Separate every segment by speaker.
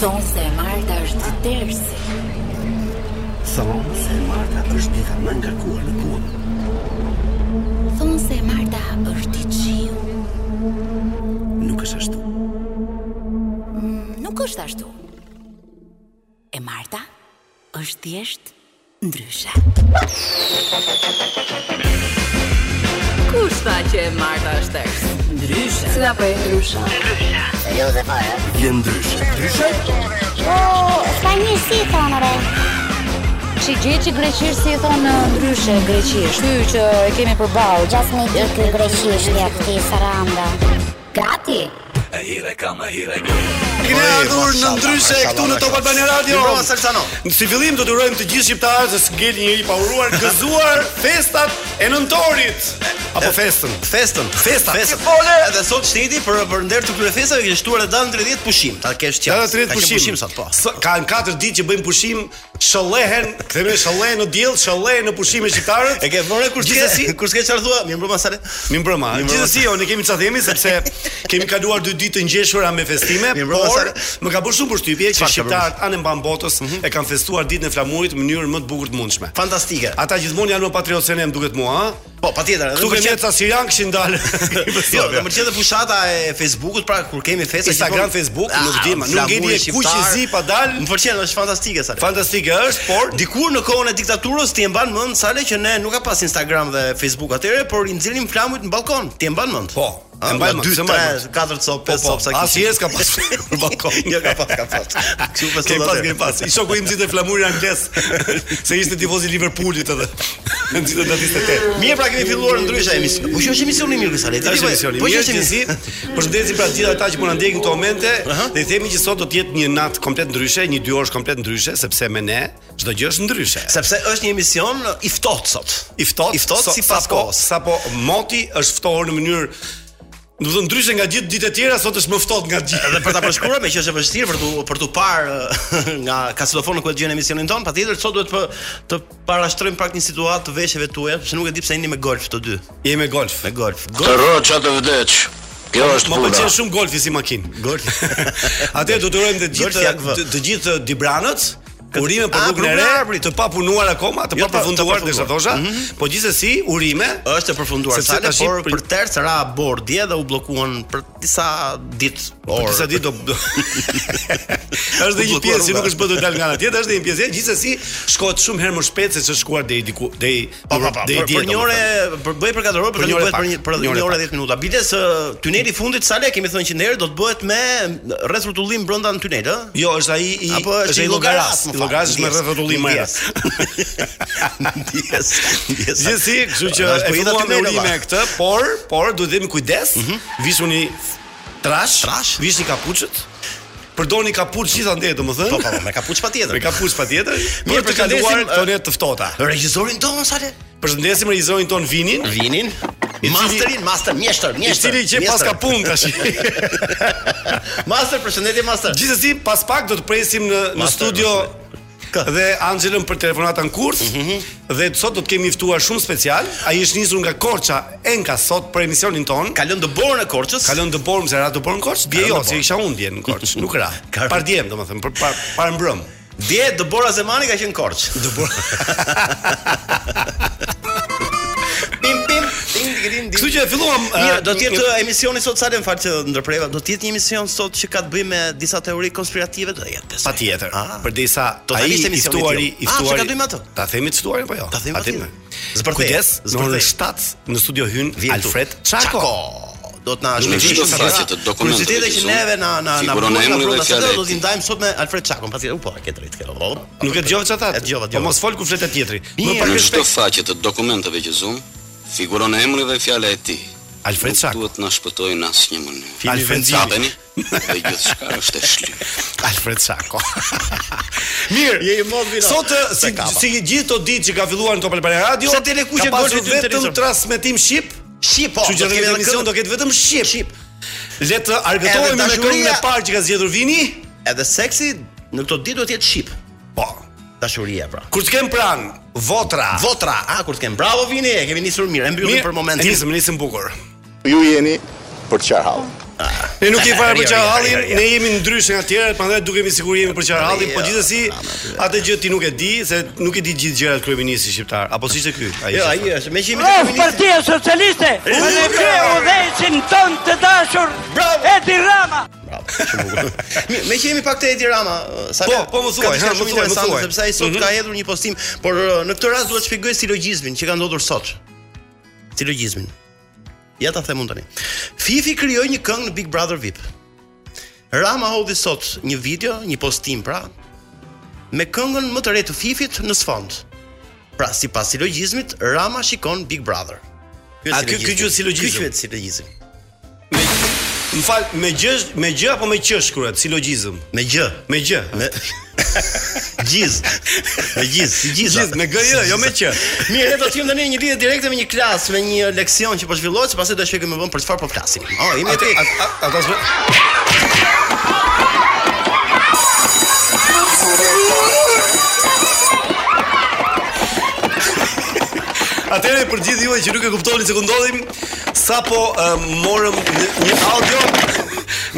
Speaker 1: Thonë se e Marta është tërsi.
Speaker 2: Thonë se Marta është dita më ngarkuar në punë.
Speaker 1: Thonë se e Marta është i qiu.
Speaker 2: Nuk është ashtu.
Speaker 1: Nuk është ashtu. E Marta është thjesht ndryshe. Kush tha që e Marta është tërës? Ndryshe. Si apo e ndryshe?
Speaker 2: Je ndryshe. Ndryshe?
Speaker 3: Ska një si thonë re
Speaker 4: Që gjë që greqisht si e thonë ë, ndryshe greqisht. Ky që e kemi përballë.
Speaker 3: Gjas me ditë greqisht ja këti saranda
Speaker 1: Gati.
Speaker 5: Kemi ardhur në ndryshe këtu në Top Albania Radio.
Speaker 6: Mirëmbrëma, Salsano.
Speaker 5: Si fillim do të urojmë të gjithë shqiptarët të s'ngel njëri pa uruar gëzuar festat e nëntorit apo festën.
Speaker 6: Festën, festa, festa. Edhe sot shteti për për nder të këtyre festave kishte shtuar edhe datën 30 pushim. Ta kesh qenë.
Speaker 5: Data 30
Speaker 6: Ka qenë
Speaker 5: pushim.
Speaker 6: pushim sot, po.
Speaker 5: S- Kanë 4 ditë që bëjmë pushim, shëllehen, kthehemi shëllehen në diell, shëllehen në pushim e shqiptarët.
Speaker 6: E ke vënë kur
Speaker 5: Gjithsesi-
Speaker 6: s'ke kur s'ke çfarë thua? Mirëmbrëma Sale.
Speaker 5: Mi mbrëma.
Speaker 6: Mi mbrëma.
Speaker 5: Gjithsesi jo, ne kemi ça themi sepse kemi kaluar dy ditë të ngjeshura me festime,
Speaker 6: Mi mbrëma,
Speaker 5: por
Speaker 6: Sara.
Speaker 5: më ka bërë shumë përshtypje që
Speaker 6: Çfarë ka Mhm.
Speaker 5: shqiptarët anë mban botës e kanë festuar ditën e flamurit në mënyrë më të bukur të mundshme.
Speaker 6: Fantastike.
Speaker 5: Ata gjithmonë janë më patriotë se ne, më duket mua, ha?
Speaker 6: Po, patjetër. edhe
Speaker 5: Këtu
Speaker 6: më
Speaker 5: kemi
Speaker 6: pëlqen-
Speaker 5: ca siran kishin dalë.
Speaker 6: Jo, do më qenë fushata e Facebook-ut pra kur kemi festë
Speaker 5: Instagram,
Speaker 6: gjithmonë-
Speaker 5: Facebook,
Speaker 6: Ah,
Speaker 5: nuk di, ma, nuk
Speaker 6: flamuri
Speaker 5: gjeni e kuq i
Speaker 6: shqiptar.
Speaker 5: zi pa dal.
Speaker 6: Më pëlqen, është fantastike Sale.
Speaker 5: Fantastike është, por
Speaker 6: Dikur në kohën e diktaturës ti e mban mend Sale që ne nuk ka pas Instagram dhe Facebook atëherë, por i nxjerrim flamujt në balkon. Ti e mban mend?
Speaker 5: Po, e
Speaker 6: e
Speaker 5: mbaj
Speaker 6: mbaj
Speaker 5: mend,
Speaker 6: 2,
Speaker 5: se mbaj
Speaker 6: 3,
Speaker 5: mend.
Speaker 6: 4 copë, 5 copë sa
Speaker 5: Po, as jes ka pas në balkon.
Speaker 6: Jo, ka pas, ka pas. Kështu pas
Speaker 5: Kemi pas,
Speaker 6: atëherë.
Speaker 5: kemi pas. I shoku im nxitën flamurin angles. Se ishte tifoz i Liverpoolit edhe. Nxitën datë 28.
Speaker 6: Mirë pra kemi filluar ndryshe emision. Po që është emisioni mirë ky Sale.
Speaker 5: Ti është emisioni.
Speaker 6: Po që
Speaker 5: Mirë
Speaker 6: është
Speaker 5: që
Speaker 6: emisioni.
Speaker 5: si. Përshëndesim pra të gjithë ata që po na ndjekin këto momente
Speaker 6: Aha.
Speaker 5: dhe i themi që sot do të jetë një natë komplet ndryshe, një dy orësh komplet ndryshe sepse me ne çdo gjë është ndryshe.
Speaker 6: Sepse është një emision i ftohtë sot.
Speaker 5: I
Speaker 6: I
Speaker 5: ftohtë,
Speaker 6: ftohtë sipas
Speaker 5: sapo-
Speaker 6: kohës.
Speaker 5: Sapo po moti është ftohur në mënyrë Do të thonë ndryshe nga gjithë ditët e tjera, sot është më ftohtë nga gjithë.
Speaker 6: Edhe për ta përshkruar me që është e vështirë për tu për tu parë eh, nga kasetofoni ku e gjen emisionin ton, patjetër sot duhet për, të parashtrojmë pak një situatë të veshjeve tuaja, sepse nuk e di pse jeni me golf të dy.
Speaker 5: Jemi me golf.
Speaker 6: Me golf.
Speaker 7: Të roqa të vdeq. Kjo është
Speaker 5: Më
Speaker 7: puna.
Speaker 5: pëlqen shumë golfi si makinë.
Speaker 6: Golf.
Speaker 5: Atë do të urojmë të gjithë
Speaker 6: Golfi AKV.
Speaker 5: të, të gjithë dibranët urime për
Speaker 6: A,
Speaker 5: rrugën e
Speaker 6: rrugën Ah, e
Speaker 5: re,
Speaker 6: Arbrit.
Speaker 5: të pa punuar akoma, të
Speaker 6: Jo,
Speaker 5: pa
Speaker 6: të pa- të Mhm.
Speaker 5: përfunduar,
Speaker 6: përfunduar.
Speaker 5: desha thosha, po gjithsesi urime
Speaker 6: është e përfunduar
Speaker 5: Sepse
Speaker 6: sale,
Speaker 5: tash i
Speaker 6: por
Speaker 5: pri-
Speaker 6: për tërë ra bordje dhe u bllokuan për disa Po, ditë
Speaker 5: Por
Speaker 6: orë.
Speaker 5: disa ditë do do- është dhe një
Speaker 6: Bllokuar
Speaker 5: pjesë që
Speaker 6: rruga.
Speaker 5: nuk është bërë të dal nga ana tjetër, është dhe një pjesë tjetër, gjithsesi shkohet shumë herë më shpejt se ç'është shkuar deri diku, deri
Speaker 6: Po po po.
Speaker 5: deri
Speaker 6: Për,
Speaker 5: dje,
Speaker 6: për një orë për bëj për 4 orë,
Speaker 5: Për
Speaker 6: për
Speaker 5: një
Speaker 6: tani
Speaker 5: orë
Speaker 6: bëhet
Speaker 5: pak,
Speaker 6: për një për
Speaker 5: një
Speaker 6: një
Speaker 5: orë
Speaker 6: orë
Speaker 5: pak.
Speaker 6: 10 minuta. Bites ë, tuneli i fundit sale kemi thënë që ndër do të bëhet me rreth rrotullim brenda në tunel, ë?
Speaker 5: Jo, është ai i
Speaker 6: Apo është i llogaras,
Speaker 5: i llogaras është me rreth rrotullim më herët.
Speaker 6: Ndjes. Ndjes.
Speaker 5: Gjithsesi, kështu që
Speaker 6: po
Speaker 5: e filluam me urime këtë, por por duhet të jemi kujdes.
Speaker 6: Mhm.
Speaker 5: Vishuni trash,
Speaker 6: Trash.
Speaker 5: vishni kapuçët. Përdorni kapuç gjithandaj, domethënë.
Speaker 6: Po po, po, me kapuç patjetër.
Speaker 5: Me kapuç patjetër. Mirë
Speaker 6: Mirë,
Speaker 5: të
Speaker 6: përshëndesim,
Speaker 5: kaluar
Speaker 6: eh,
Speaker 5: këto ne të ftohta.
Speaker 6: Regjisorin tonë sale.
Speaker 5: Përshëndesim regjisorin ton Vinin,
Speaker 6: Vinin. Masterin, master, mjeshtër,
Speaker 5: i
Speaker 6: mjeshtër.
Speaker 5: cili që pas
Speaker 6: mjeshtër.
Speaker 5: ka punë tash.
Speaker 6: Master, përshëndetje master.
Speaker 5: Gjithsesi, pas pak do të presim në në
Speaker 6: Master, Mhm,
Speaker 5: studio
Speaker 6: Kë?
Speaker 5: dhe Anxhelën për telefonatën kurth dhe sot do të kemi ftuar shumë special. Ai është nisur nga Korça Enka sot për emisionin ton.
Speaker 6: Ka lënë dëborën e Korçës.
Speaker 5: Kalon të borëm se ra të borëm Korç, bie
Speaker 6: Kalon të
Speaker 5: jo, se
Speaker 6: borëm.
Speaker 5: isha unë dje në Korç, nuk ra.
Speaker 6: Ka-
Speaker 5: Par djem, domethënë, për par, par mbrëm.
Speaker 6: Dje dëbora Zemani ka qenë Korç. Pim pim ting ting ting.
Speaker 5: Kështu që e filluam eh,
Speaker 6: Mirë, do të jetë emisioni sot sa le më fal që ndërpreva. Do të jetë një emision sot që ka të bëjë me disa teori konspirative, do jetë besoj.
Speaker 5: patjetër.
Speaker 6: Ah.
Speaker 5: Përderisa
Speaker 6: Do ta
Speaker 5: ai
Speaker 6: ishte
Speaker 5: i
Speaker 6: emisioni
Speaker 5: ftuari,
Speaker 6: tjetër.
Speaker 5: i
Speaker 6: Ah, që
Speaker 5: ftuari.
Speaker 6: ka bëjmë atë?
Speaker 5: Ta themi të ftuarin apo jo?
Speaker 6: Ta themi
Speaker 5: A
Speaker 6: atë.
Speaker 5: me.
Speaker 6: Zbërthej,
Speaker 5: Kujdes, në
Speaker 6: zbërthej.
Speaker 5: orën 7 në studio hyn
Speaker 6: Vjen tu.
Speaker 5: Alfred Çako.
Speaker 6: Do të na
Speaker 7: Në
Speaker 6: shpjegoj
Speaker 7: çdo
Speaker 6: shumë
Speaker 7: faqe
Speaker 6: sa-
Speaker 7: të dokumenteve
Speaker 6: kuriozitete
Speaker 7: që
Speaker 6: që
Speaker 7: zonë,
Speaker 6: neve na na na
Speaker 7: figuron
Speaker 6: na
Speaker 7: emri dhe
Speaker 6: brenda
Speaker 7: fjala
Speaker 6: sado,
Speaker 7: e
Speaker 6: do t'i
Speaker 7: tij.
Speaker 6: ndajmë sot me Alfred Çakun, pasi u po, e ke drejtë kjo. Po,
Speaker 5: Nuk e dëgjova çata.
Speaker 6: E dëgjova,
Speaker 5: Po
Speaker 6: dëgjova.
Speaker 5: mos fol kur fletë tjetri. Më
Speaker 6: Mirë.
Speaker 5: pak
Speaker 7: Në çdo
Speaker 5: respekt.
Speaker 7: faqe të dokumenteve që zum, figuron emri dhe fjala e tij.
Speaker 5: Alfred
Speaker 7: Nuk
Speaker 5: Çako.
Speaker 7: Duhet na shpëtojë në asnjë mënyrë.
Speaker 5: Alfred Çako.
Speaker 7: Tapeni dhe gjithçka është e shlyr.
Speaker 5: Alfred Çako. Mirë.
Speaker 6: Je i modh vino.
Speaker 5: Sot ë, si
Speaker 6: Se kapa.
Speaker 5: si gjithë to ditë që ka filluar në Top Albania Radio.
Speaker 6: Pse Teleku
Speaker 5: ka
Speaker 6: që
Speaker 5: pasur
Speaker 6: golfi ty në
Speaker 5: vetëm
Speaker 6: televizor?
Speaker 5: transmetim shqip.
Speaker 6: Shqip, po.
Speaker 5: Kështu që
Speaker 6: do
Speaker 5: në
Speaker 6: t'kemi edhe
Speaker 5: emision
Speaker 6: këngë.
Speaker 5: do ketë vetëm shqip.
Speaker 6: Shqip.
Speaker 5: Le të argëtohemi me këngën
Speaker 6: dashuria-
Speaker 5: e parë që ka zgjedhur Vini.
Speaker 6: Edhe seksi në këto ditë duhet të jetë shqip.
Speaker 5: Po.
Speaker 6: Dashuria pra.
Speaker 5: Kur të kem pranë, votra.
Speaker 6: Votra, a kur të kem bravo vini, e kemi nisur mirë, e mbyllim për momentin.
Speaker 5: Nisëm, nisëm bukur.
Speaker 8: Ju jeni për çfarë hall?
Speaker 5: Ah. Ne nuk jemi fare për
Speaker 6: Jo, jo,
Speaker 5: Qarhallin,
Speaker 6: jo, jo.
Speaker 5: ne jemi ndryshe nga tjerët, prandaj dukemi sikur jemi për Qarhallin, po
Speaker 6: Jo,
Speaker 5: gjithsesi
Speaker 6: ama-
Speaker 5: atë gjë ti nuk e di se nuk e di gjithë gjërat kryeministi shqiptar, apo si ishte ky? Ai.
Speaker 6: Jo,
Speaker 5: ishte-
Speaker 6: ai është, me që jemi
Speaker 5: Oh,
Speaker 8: Of Partia Socialiste Për në ble u ton të dashur
Speaker 6: Bravo.
Speaker 8: Edi Rama
Speaker 6: Bravo, shumë bukur. Mi- Me që jemi pak te Edi Rama, ë, sa
Speaker 5: Po,
Speaker 6: ka-
Speaker 5: po, më thuaj,
Speaker 6: ka diçka
Speaker 5: ha, më
Speaker 6: shumë
Speaker 5: thuaj, më
Speaker 6: interesante,
Speaker 5: thuaj. Mhm.
Speaker 6: sepse ai sot ka hedhur një postim, por ë, në këtë rast duhet të shpjegoj silogizmin që ka ndodhur sot. Silogizmin. Ja ta them unë tani. Fifi krijoi një këngë në Big Brother VIP. Rama hodhi sot një video, një postim pra, me këngën më të re të Fifit në sfond. Pra, sipas silogjizmit, Rama shikon Big Brother. Ky është
Speaker 5: A, ky-
Speaker 6: silogjizmi.
Speaker 5: ky quhet
Speaker 6: Ky
Speaker 5: silogjizëm?
Speaker 6: quhet silogjizëm.
Speaker 5: Më fal, me gjë, me gjë apo me që shkruhet silogjizëm?
Speaker 6: Me gjë.
Speaker 5: Me gjë.
Speaker 6: Me gjiz. Me gjiz, si gjiza.
Speaker 5: Gjiz, me gj, jo me q.
Speaker 6: Mirë, ne do të kemi tani një lidhje direkte me një klasë, me një leksion që po zhvillohet, sepse do të shpjegojmë më vonë për çfarë po flasim. Oh, jemi te.
Speaker 5: Ata s'me... Atëherë për gjithë juaj që nuk e kuptoni se ku ndodhim, sapo uh, morëm një një audio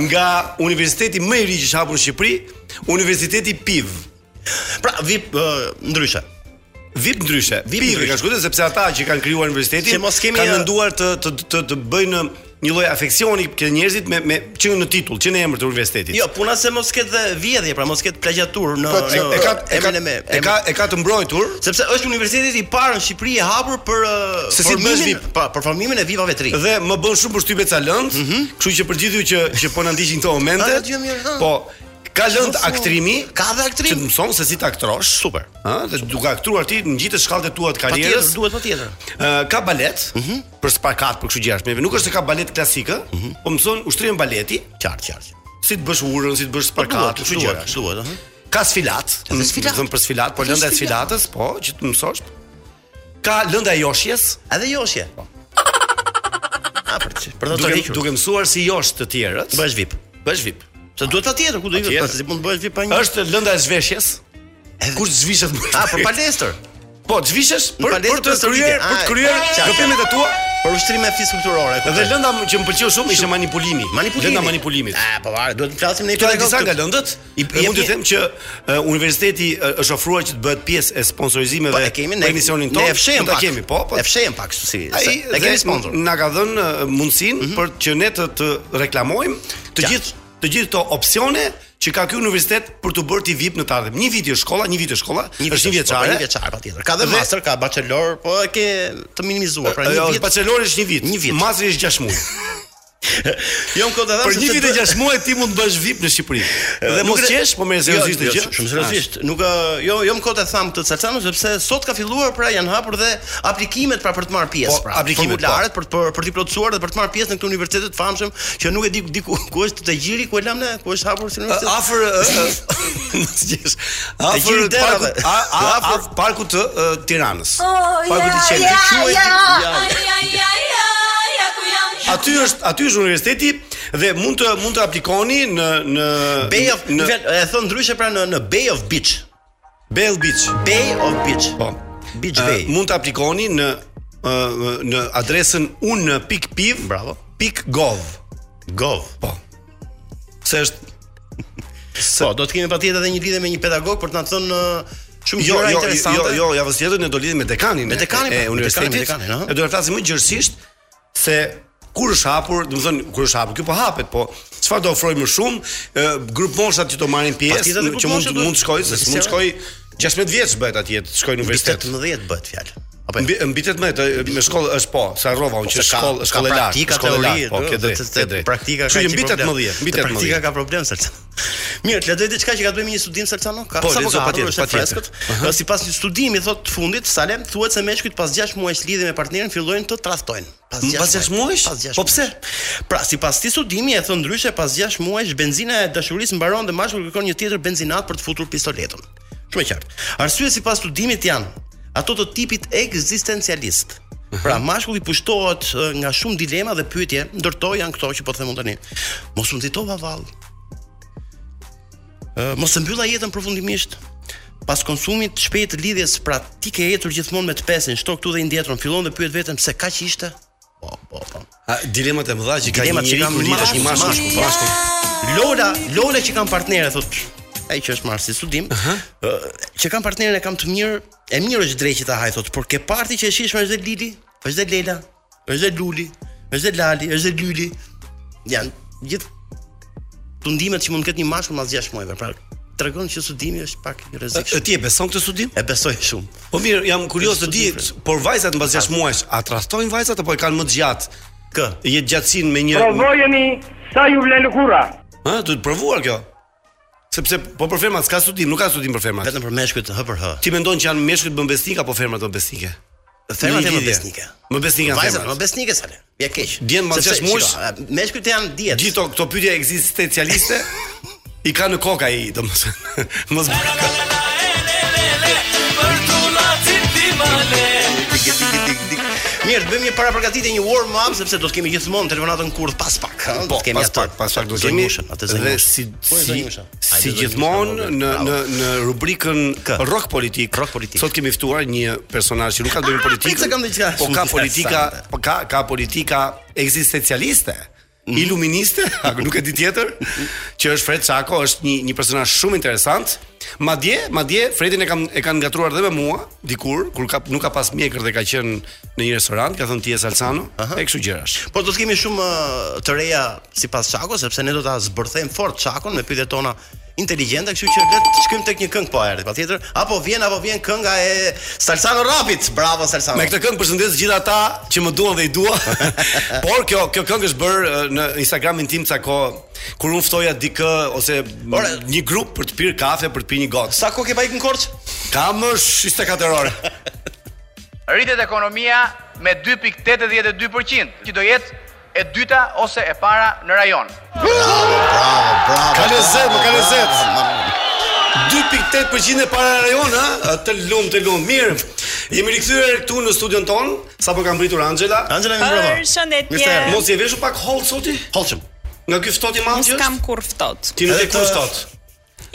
Speaker 5: nga universiteti më i ri që është hapur në Shqipëri, Universiteti PIV.
Speaker 6: Pra, VIP ë, ndryshe.
Speaker 5: VIP ndryshe.
Speaker 6: VIP
Speaker 5: VIP i
Speaker 6: ndryshe.
Speaker 5: ka shkruar sepse ata që kanë krijuar universitetin
Speaker 6: Që mos kemi,
Speaker 5: kanë
Speaker 6: uh,
Speaker 5: menduar të të të, të bëjnë një lloj afeksioni ke njerëzit me me që në titull, që në emër të universitetit.
Speaker 6: Jo, puna se mos ketë dhe vjedhje, pra mos ketë plagjatur në
Speaker 5: Po, e, e ka e ka
Speaker 6: emrin me.
Speaker 5: e ka e ka të mbrojtur
Speaker 6: sepse është universiteti i parë në Shqipëri i hapur për ë,
Speaker 5: Se si bësh
Speaker 6: formimin-
Speaker 5: VIP.
Speaker 6: pa, për formimin e VIP-ave të ri.
Speaker 5: dhe më bën shumë përshtypje ca lëndë, kështu që për gjithë ju që që po na ndiqin këto momente.
Speaker 6: Ah, Mhm. gjë mirë, ha.
Speaker 5: Po ka lënd aktrimi,
Speaker 6: Ka dhe aktrim.
Speaker 5: që të mëson se si të aktrosh.
Speaker 6: Super.
Speaker 5: Ëh, dhe duke aktuar ti në gjithë shkallët e tua të
Speaker 6: Patjetër,
Speaker 5: karrierës.
Speaker 6: duhet patjetër.
Speaker 5: Ë, ka balet,
Speaker 6: Mhm.
Speaker 5: për sparkat, për kështu gjërash. Nuk është se ka balet klasike, po mëson ushtrimin baleti,
Speaker 6: Qartë, qartë. Po
Speaker 5: si të bësh urën, si të
Speaker 6: Duhet,
Speaker 5: bësh sparkat, kështu gjëra.
Speaker 6: duhet, duhet, ëh.
Speaker 5: Ka sfilat,
Speaker 6: Ka sfilat.
Speaker 5: thënë për sfilat, po
Speaker 6: Ka
Speaker 5: lënda e
Speaker 6: sfilat.
Speaker 5: sfilatës, po, që të mësosh. Ka lënda e joshjes,
Speaker 6: Edhe joshje. A për të për të
Speaker 5: Po. duke,
Speaker 6: tërhiqur.
Speaker 5: duke mësuar si josh të tjerët.
Speaker 6: bësh VIP.
Speaker 5: bësh VIP.
Speaker 6: Se duhet patjetër ku do
Speaker 5: Patjetër.
Speaker 6: ikësh, pas si mund bësh VIP pa një.
Speaker 5: Është lënda e zhveshjes. Kur zhvishet më?
Speaker 6: A për palestër.
Speaker 5: Po, zhvishesh
Speaker 6: Në
Speaker 5: për për
Speaker 6: palestër
Speaker 5: të
Speaker 6: personike.
Speaker 5: kryer, për
Speaker 6: Ah,
Speaker 5: të kryer
Speaker 6: qartë.
Speaker 5: gëpimet e tua.
Speaker 6: Për ushtrime fiskulturore.
Speaker 5: Dhe lënda që më pëlqeu shumë ishte manipulimi.
Speaker 6: manipulimi.
Speaker 5: Lënda manipulimit.
Speaker 6: A po varet, duhet të flasim ne
Speaker 5: Këto
Speaker 6: këtu
Speaker 5: janë disa nga lëndët.
Speaker 6: I-
Speaker 5: Dhe mund të them që e, universiteti e, është ofruar që të bëhet pjesë e sponsorizimeve
Speaker 6: Po e kemi ne.
Speaker 5: për emisionin tonë.
Speaker 6: Ne e fshehim
Speaker 5: Ta
Speaker 6: pak.
Speaker 5: kemi, po, po.
Speaker 6: E fshehim pak kështu si. se-
Speaker 5: Ai
Speaker 6: e kemi sponsor. Mhm.
Speaker 5: Na ka dhënë e, mundësinë për që ne të, të reklamojmë të
Speaker 6: Qartë.
Speaker 5: gjithë të gjithë këto opsione që ka ky universitet për të bërë ti VIP në të ardhmen. Një vit është shkolla, një vit është shkolla, është një vjeçare.
Speaker 6: Një vjeçare patjetër. Ka dhe
Speaker 5: Dhe-
Speaker 6: master, ka bachelor, po e ke të minimizuar. Pra një
Speaker 5: Jo,
Speaker 6: vit.
Speaker 5: bachelori është një vit.
Speaker 6: Një vit.
Speaker 5: Masteri është 6 muaj.
Speaker 6: Jo, më kodë
Speaker 5: Për një vit e 6 muaj ti mund të bësh VIP në Shqipëri. Dhe mos qesh, po merr seriozisht të gjë.
Speaker 6: Jo,
Speaker 5: Ah.
Speaker 6: Shumë seriozisht. Nuk ë, jo jo më kot e tham të Calcanut sepse sot ka filluar pra janë hapur dhe aplikimet pra për të marrë pjesë
Speaker 5: Po,
Speaker 6: pra.
Speaker 5: aplikimet,
Speaker 6: formularet për për për të plotësuar dhe për të marrë pjesë në këtë universitet të famshëm që nuk e di di ku, ku është të gjiri ku e lam ne, ku është hapur si
Speaker 5: Ë,
Speaker 6: universitet.
Speaker 5: afër ë, ë, mos qesh. Afër
Speaker 6: gjithë
Speaker 5: parkut,
Speaker 6: derave.
Speaker 5: a, a,
Speaker 6: Afër-
Speaker 5: afër parkut të ë, Tiranës.
Speaker 6: Pagu të çelë. Quhet ja.
Speaker 5: Aty është aty është universiteti dhe mund të mund të aplikoni në në
Speaker 6: Bay of
Speaker 5: në
Speaker 6: në, e thon ndryshe pra në në Bay of Beach.
Speaker 5: Bell Beach.
Speaker 6: Bay of Beach.
Speaker 5: Po.
Speaker 6: Beach
Speaker 5: Ë,
Speaker 6: Bay.
Speaker 5: mund të aplikoni në ë, në adresën un.piv
Speaker 6: Bravo.
Speaker 5: .gov.
Speaker 6: Gov.
Speaker 5: Po. Se është
Speaker 6: Po, do të kemi patjetër edhe një lidhje me një pedagog për të na thënë ë, shumë
Speaker 5: Jo,
Speaker 6: gjëra
Speaker 5: jo,
Speaker 6: interesante.
Speaker 5: jo, jo, javës tjetër ne do lidhim me dekanin
Speaker 6: Me
Speaker 5: e-
Speaker 6: dekanin, pra,
Speaker 5: e,
Speaker 6: me
Speaker 5: universitetit.
Speaker 6: dekanin, me dekanin, ha?
Speaker 5: e do të flasim më gjërësisht se kur është hapur, do të thonë kur është hapur, ky po hapet, po çfarë do ofrojmë më shumë, e, grup moshat që do marrin pjesë,
Speaker 6: Patjetër dhe
Speaker 5: që
Speaker 6: grup
Speaker 5: mund
Speaker 6: moshat do-
Speaker 5: mund të shkojë, se
Speaker 6: Nëse
Speaker 5: mund të
Speaker 6: se-
Speaker 5: shkojë 16 vjeç bëhet atje, të shkojë në universitet.
Speaker 6: 18 bëhet fjalë. Apo
Speaker 5: Mbi mbi 18 me shkollë është po, sa rrova unë
Speaker 6: se
Speaker 5: që
Speaker 6: ka-
Speaker 5: shkollë
Speaker 6: ka
Speaker 5: shkollë e lartë,
Speaker 6: praktika,
Speaker 5: shkollë e
Speaker 6: teori,
Speaker 5: lartë, po,
Speaker 6: do,
Speaker 5: ke
Speaker 6: do
Speaker 5: drejt,
Speaker 6: të-
Speaker 5: ke
Speaker 6: të-
Speaker 5: drejt.
Speaker 6: Praktika ka
Speaker 5: Kështu që
Speaker 6: qenë
Speaker 5: mbi
Speaker 6: problem.
Speaker 5: 18, mbi
Speaker 6: Te Praktika
Speaker 5: 18.
Speaker 6: ka problem Selcan. Mirë, të lexoj diçka që ka të bëjë me një studim Selcano, ka
Speaker 5: Po,
Speaker 6: sapo
Speaker 5: lexo
Speaker 6: ka ardhur,
Speaker 5: patjetër,
Speaker 6: është e
Speaker 5: patjetër.
Speaker 6: freskët. Ë, Sipas një studimi thotë të fundit, Salem thuhet se meshkujt pas 6 muajsh lidhje me partnerin fillojnë të tradhtojnë. Pas
Speaker 5: M, Hmm, pas
Speaker 6: 6
Speaker 5: 6 muajsh?
Speaker 6: Pas 6.
Speaker 5: Po pse?
Speaker 6: Pra, sipas këtij studimi e thon ndryshe pas 6 muajsh benzina e dashurisë mbaron dhe mashkulli kërkon një tjetër benzinat për të futur pistoletën. Shumë e qartë. Arsye sipas studimit janë ato të tipit ekzistencialist. Pra, mashkulli pushtohet ë, nga shumë dilema dhe pyetje, ndërto janë këto që po të them unë tani. Mos u nxitova vallë. Ë, mos e mbylla jetën përfundimisht. Pas konsumit të shpejt të lidhjes, pra ti ke ecur gjithmonë me të pesin, shto këtu dhe i ndjetrën, fillon dhe pyet veten pse kaq ishte. Po, po, po.
Speaker 5: A, dilemat e mëdha që ka
Speaker 6: Dilemat
Speaker 5: një
Speaker 6: që
Speaker 5: njeri
Speaker 6: kam
Speaker 5: kur lidhesh një
Speaker 6: mashkull,
Speaker 5: mashkull, po mashkull.
Speaker 6: Lola, Lola që kanë partnerë thot ai që është marsi studim, uh që kanë partnerën e kam të mirë, e mirë është drejtë që ta haj thot, por ke parti që e shishme është dhe Lili, është dhe Lela, është dhe Luli, është dhe Lali, është dhe Lyli. Janë gjithë tundimet që mund të ketë një mashkull mas 6 muajve. Pra tregon që studimi është pak i
Speaker 5: E
Speaker 6: rrezikshëm.
Speaker 5: ti e beson këtë studim?
Speaker 6: E besoj shumë.
Speaker 5: Po mirë, jam kurioz të di, por vajzat mbas 6 muajsh, a trahtojnë vajzat apo e kanë më të gjatë?
Speaker 6: Kë?
Speaker 5: Jetë gjatësinë me një
Speaker 9: Provojeni sa ju vlen lëkura.
Speaker 5: Ë, duhet provuar kjo. Sepse po për femrat s'ka studim, nuk ka studim për femrat.
Speaker 6: Vetëm për meshkujt H për H.
Speaker 5: Ti mendon që janë meshkujt mbesnik apo femrat mbesnike?
Speaker 6: Femrat
Speaker 5: Një
Speaker 6: janë më
Speaker 5: lidhje.
Speaker 6: besnike.
Speaker 5: Më besnike janë
Speaker 6: Vajzat
Speaker 5: femrat.
Speaker 6: më besnike sa le. Ja keq.
Speaker 5: Djenë mas
Speaker 6: Sepse,
Speaker 5: gjashtë muajsh.
Speaker 6: shiko, Meshkujt janë dietë.
Speaker 5: Gjithto këto pyetje ekzistencialiste i ka në kokë ai, domethënë. Mos bëj.
Speaker 6: Tik, tik, tik, tik. Mirë, të bëjmë një para përgatitje, një warm up sepse do të kemi gjithmonë telefonatën kurrë pas pak, ha? do
Speaker 5: Po,
Speaker 6: të kemi
Speaker 5: pas
Speaker 6: atë.
Speaker 5: pak, pas pak do të
Speaker 6: Zonjë
Speaker 5: kemi.
Speaker 6: Mushën, atë
Speaker 5: Dhe
Speaker 6: zonjë.
Speaker 5: si
Speaker 6: Po, e
Speaker 5: si,
Speaker 6: zonjë Mushën. Hajde,
Speaker 5: si
Speaker 6: zonjë
Speaker 5: gjithmonë
Speaker 6: Mushën,
Speaker 5: në
Speaker 6: bravo.
Speaker 5: në në rubrikën
Speaker 6: Kë?
Speaker 5: rock politik,
Speaker 6: Rock politik.
Speaker 5: Sot kemi ftuar një personazh që nuk ka të bëjë me politikë.
Speaker 6: pritse kam diçka
Speaker 5: Po
Speaker 6: shumë
Speaker 5: ka
Speaker 6: interesante.
Speaker 5: politika, po ka ka politika ekzistencialiste.
Speaker 6: Mhm.
Speaker 5: Iluministe, a nuk e di tjetër, që është Fred Çako, është një një personazh shumë interesant. Madje, madje Fredin e kam e kanë ngatruar edhe me mua dikur kur ka nuk ka pas mjekër dhe ka qenë në një restorant, ka thënë ti je Salsano, e kështu gjërash.
Speaker 6: Po do të kemi shumë ë, të reja sipas Çakos, sepse ne do ta zbërthejmë fort Çakon me pyetjet tona inteligjente, kështu që le të shkojmë tek një këngë po erdhi patjetër, apo vjen apo vjen kënga e Salsano Rapit. Bravo Salsano.
Speaker 5: Me këtë këngë përshëndes gjithë ata që më duan dhe i dua. Por kjo kjo këngë është bërë e, në Instagramin tim ca kohë kur unë ftoja dikë ose m-
Speaker 6: Ore.
Speaker 5: një grup për të pirë kafe, për të pirë një gocë.
Speaker 6: sa kohë ke pa ikën Korç?
Speaker 5: Kam është 24 orë.
Speaker 9: Rritet ekonomia me 2.82% që do jetë e dyta ose e para në rajon.
Speaker 6: Bravo, bravo.
Speaker 5: Ka lezet, më ka
Speaker 6: bravo,
Speaker 5: lezet.
Speaker 6: bravo.
Speaker 5: 2.8% e para rajon, ha? Të lumë, të lumë. Mirë. Jemi rikthyer këtu në studion ton, sapo kam mbritur Angela.
Speaker 6: Angela më bravo. Mirë se erdhe.
Speaker 5: Mos je veshur pak hollë soti?
Speaker 6: Holçëm.
Speaker 5: Nga ky ftohtë i madh që është?
Speaker 10: kur Jo. ftot.
Speaker 5: Ti nuk e
Speaker 6: Edhe-
Speaker 5: kur ftohtë.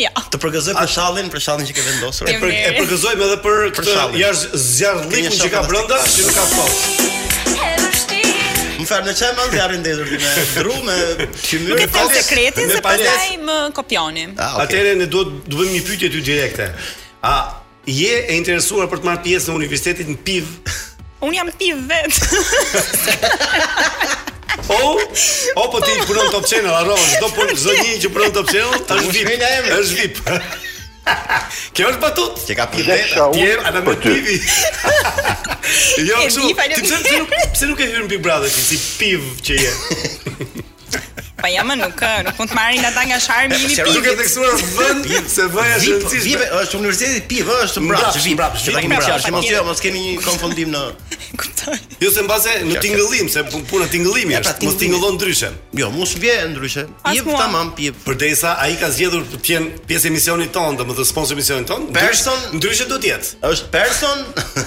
Speaker 10: Ja.
Speaker 6: Të përgëzoj për shallin, për shallin që ke vendosur.
Speaker 5: E, për, e përgëzojmë edhe për këtë
Speaker 6: shallin.
Speaker 5: jashtë zjarrllikun që ka
Speaker 6: shallin.
Speaker 5: brenda, që nuk ka ftohtë.
Speaker 6: Më fal, në çfarë mund të japim ndezur ti me dru me qymyr.
Speaker 10: Nuk e them
Speaker 6: kokës,
Speaker 10: sekretin
Speaker 6: me
Speaker 10: se
Speaker 6: palec.
Speaker 10: pastaj më kopjoni.
Speaker 6: Ah, okay.
Speaker 5: Atëherë ne duhet do bëjmë një pyetje ty direkte. A je e interesuar për të marrë pjesë në universitetin në PIV?
Speaker 10: Un jam piv vet.
Speaker 5: O,
Speaker 6: Oh!
Speaker 5: o po ti punon Top Channel, harrova çdo punë çdo një që punon Top Channel, është
Speaker 6: mos
Speaker 5: VIP.
Speaker 6: shkruaj në emrin.
Speaker 5: Është VIP. Kjo është batut.
Speaker 6: Që ka pirë vetë.
Speaker 5: Ti je ana me PIV. Jo,
Speaker 10: E
Speaker 5: kështu.
Speaker 10: vi, falem-
Speaker 5: Ti pse pse nuk pse nuk e hyn Big Brother ti si PIV që je?
Speaker 10: Po jam nuk ë, nuk mund të marrin ata nga sharmi i
Speaker 5: Ti nuk e
Speaker 10: pivit.
Speaker 5: theksuar vend se vëja është e
Speaker 6: VIP,
Speaker 5: rëndësishme.
Speaker 6: VIP është universiteti PIV është mbrapsht,
Speaker 5: Mbrapsht,
Speaker 6: VIP.
Speaker 5: mbrapsht,
Speaker 6: Që ta
Speaker 5: VIP,
Speaker 6: kemi
Speaker 10: mbrapsht,
Speaker 6: qartë, mos jo,
Speaker 10: patjetër.
Speaker 6: mos kemi një konfundim në.
Speaker 10: Kuptoj.
Speaker 5: Jo se mbase në tingëllim, se pun- puna tingëllimi
Speaker 6: E, pra,
Speaker 5: është, mos
Speaker 6: tingëllimi.
Speaker 5: tingëllon ndryshe.
Speaker 6: Jo, mos vje ndryshe.
Speaker 10: As
Speaker 6: PIV
Speaker 10: mua.
Speaker 6: tamam PIV.
Speaker 5: Përdesa ai ka zgjedhur të jenë pjesë e misionit ton, domethënë sponsor misionit ton. ndryshe-
Speaker 6: Person-
Speaker 5: ndryshe do të jetë.
Speaker 6: Është person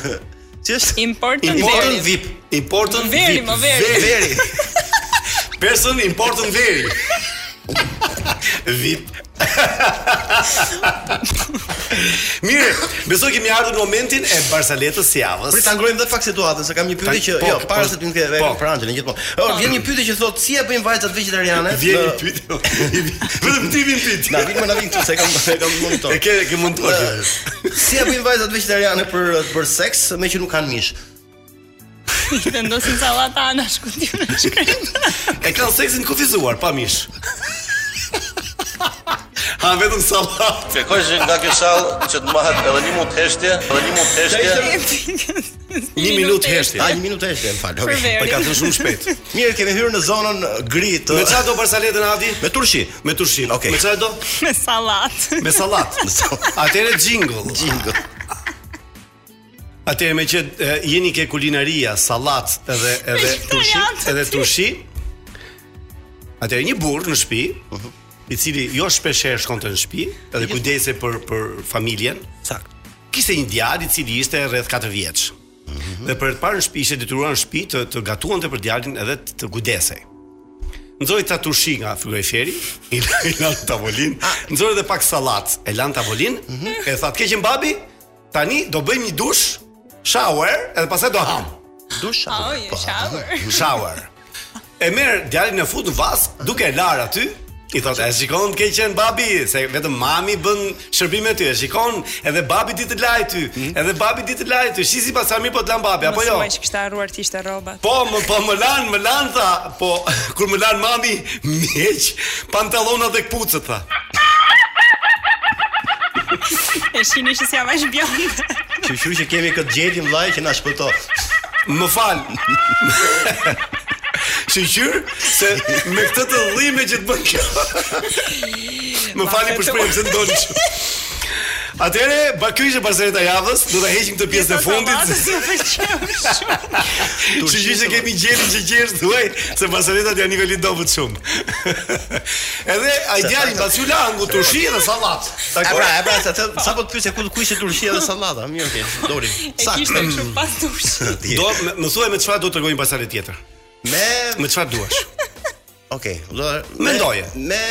Speaker 6: që është
Speaker 10: Important
Speaker 5: Important
Speaker 10: veri.
Speaker 5: VIP, important
Speaker 10: Veri,
Speaker 5: VIP.
Speaker 10: më veri.
Speaker 6: veri.
Speaker 5: Person important veri. VIP. Mirë, besoj kemi ardhur në momentin e Barsaletës së javës.
Speaker 6: Prit ta ngrojmë dhe fakt situatën se kam një pyetje që
Speaker 5: Ta- po,
Speaker 6: jo,
Speaker 5: po,
Speaker 6: para se të më kthej
Speaker 5: po.
Speaker 6: për Anxhelën gjithmonë. Oh, vjen një pyetje që thotë si e bëjnë vajzat vegetariane?
Speaker 5: Vjen
Speaker 6: në-
Speaker 5: një pyetje. Vetëm ti vjen pyetje.
Speaker 6: Na vjen më na vjen këtu se e kam e kam monitor.
Speaker 5: E ke e ke montuar. kjo.
Speaker 6: Si e bëjnë vajzat vegetariane për për seks me që nuk kanë mish?
Speaker 10: I vendosin sallata anash ku ti na shkrim.
Speaker 5: E kanë seksin kufizuar pa mish. Ha vetëm sallat.
Speaker 7: Fekojshë nga kjo sallë që të mahet edhe një mund të heshtje, edhe një mund të heshtje.
Speaker 5: Një minutë heshtje.
Speaker 6: A, një minutë është, më fal.
Speaker 10: Për
Speaker 6: Okay.
Speaker 10: verë.
Speaker 5: Po ka thënë shumë shpejt.
Speaker 6: Mirë, kemi hyrë në zonën uh, gri të
Speaker 5: Me çfarë do Barsaletën Adi?
Speaker 6: me turshi.
Speaker 5: Me turshin.
Speaker 6: Okej.
Speaker 5: Me çfarë do?
Speaker 10: me sallat.
Speaker 5: Me sallat. Atëre jingle.
Speaker 6: Jingo.
Speaker 5: Atëre me që e, jeni ke kulinaria, sallat edhe edhe
Speaker 10: Me
Speaker 5: turshi,
Speaker 10: sallat.
Speaker 5: edhe turshi. Atëre një burr në shtëpi,
Speaker 6: Mhm.
Speaker 5: i cili jo shpesh herë shkonte në shtëpi, edhe kujdese për për familjen.
Speaker 6: Sakt.
Speaker 5: Kishte një djalë i cili ishte rreth 4 vjeç.
Speaker 6: Mhm.
Speaker 5: Dhe për të parë në shtëpi ishte detyruar në shtëpi të, të gatuante për djalin edhe të, të kujdesej. Nxori ta turshi nga frigoriferi, i la- i lan tavolin, nxori edhe pak sallat, e lan tavolin, e tha të keqen babi, tani do bëjmë një dush, shower, edhe pastaj do ham.
Speaker 6: Dusha.
Speaker 10: Oh, you shower.
Speaker 5: Shower. E merr djalin e fut në vas, duke e lar aty. I thotë, e shikon të ke qenë babi, se vetëm mami bën shërbime ty, e shikon edhe babi ditë të laj ty, edhe babi ditë të laj ty, shisi pas sa mirë po të lan babi, apo jo?
Speaker 10: Mos që kishte harruar të ishte rrobat.
Speaker 5: Po, më, po më lan, më lan tha, po kur më lan mami, mjeq, pantallona dhe kpucët tha.
Speaker 10: E shihni që si avash bjond.
Speaker 6: Qëshu që kemi këtë gjetin vllai që na shpëto.
Speaker 5: Më fal. Shqyr se me këtë të dhime që të bën kjo. Më fali për shprehjen se ndonjë. Atëre, ba ky ishte Barcelona e javës, do ta heqim këtë pjesë të fundit.
Speaker 10: Ju pëlqeu shumë.
Speaker 5: Që që që kemi gjerin që gjesh thuaj se Barcelonaat janë nivelit dobët shumë. Edhe ai djali mbas u la ngu turshi dhe sallat.
Speaker 6: E pra, e pra, sa të sa po të pyesë ku ku ishte Turqia dhe sallata, mirë okay, dolim.
Speaker 10: E
Speaker 6: Sa
Speaker 10: kishte kështu pas dush.
Speaker 5: Do më- më thuaj me çfarë do të tregojmë pasardhë tjetër.
Speaker 6: me
Speaker 5: Me çfarë duash?
Speaker 6: okay, do
Speaker 5: Me ndoje.
Speaker 6: Me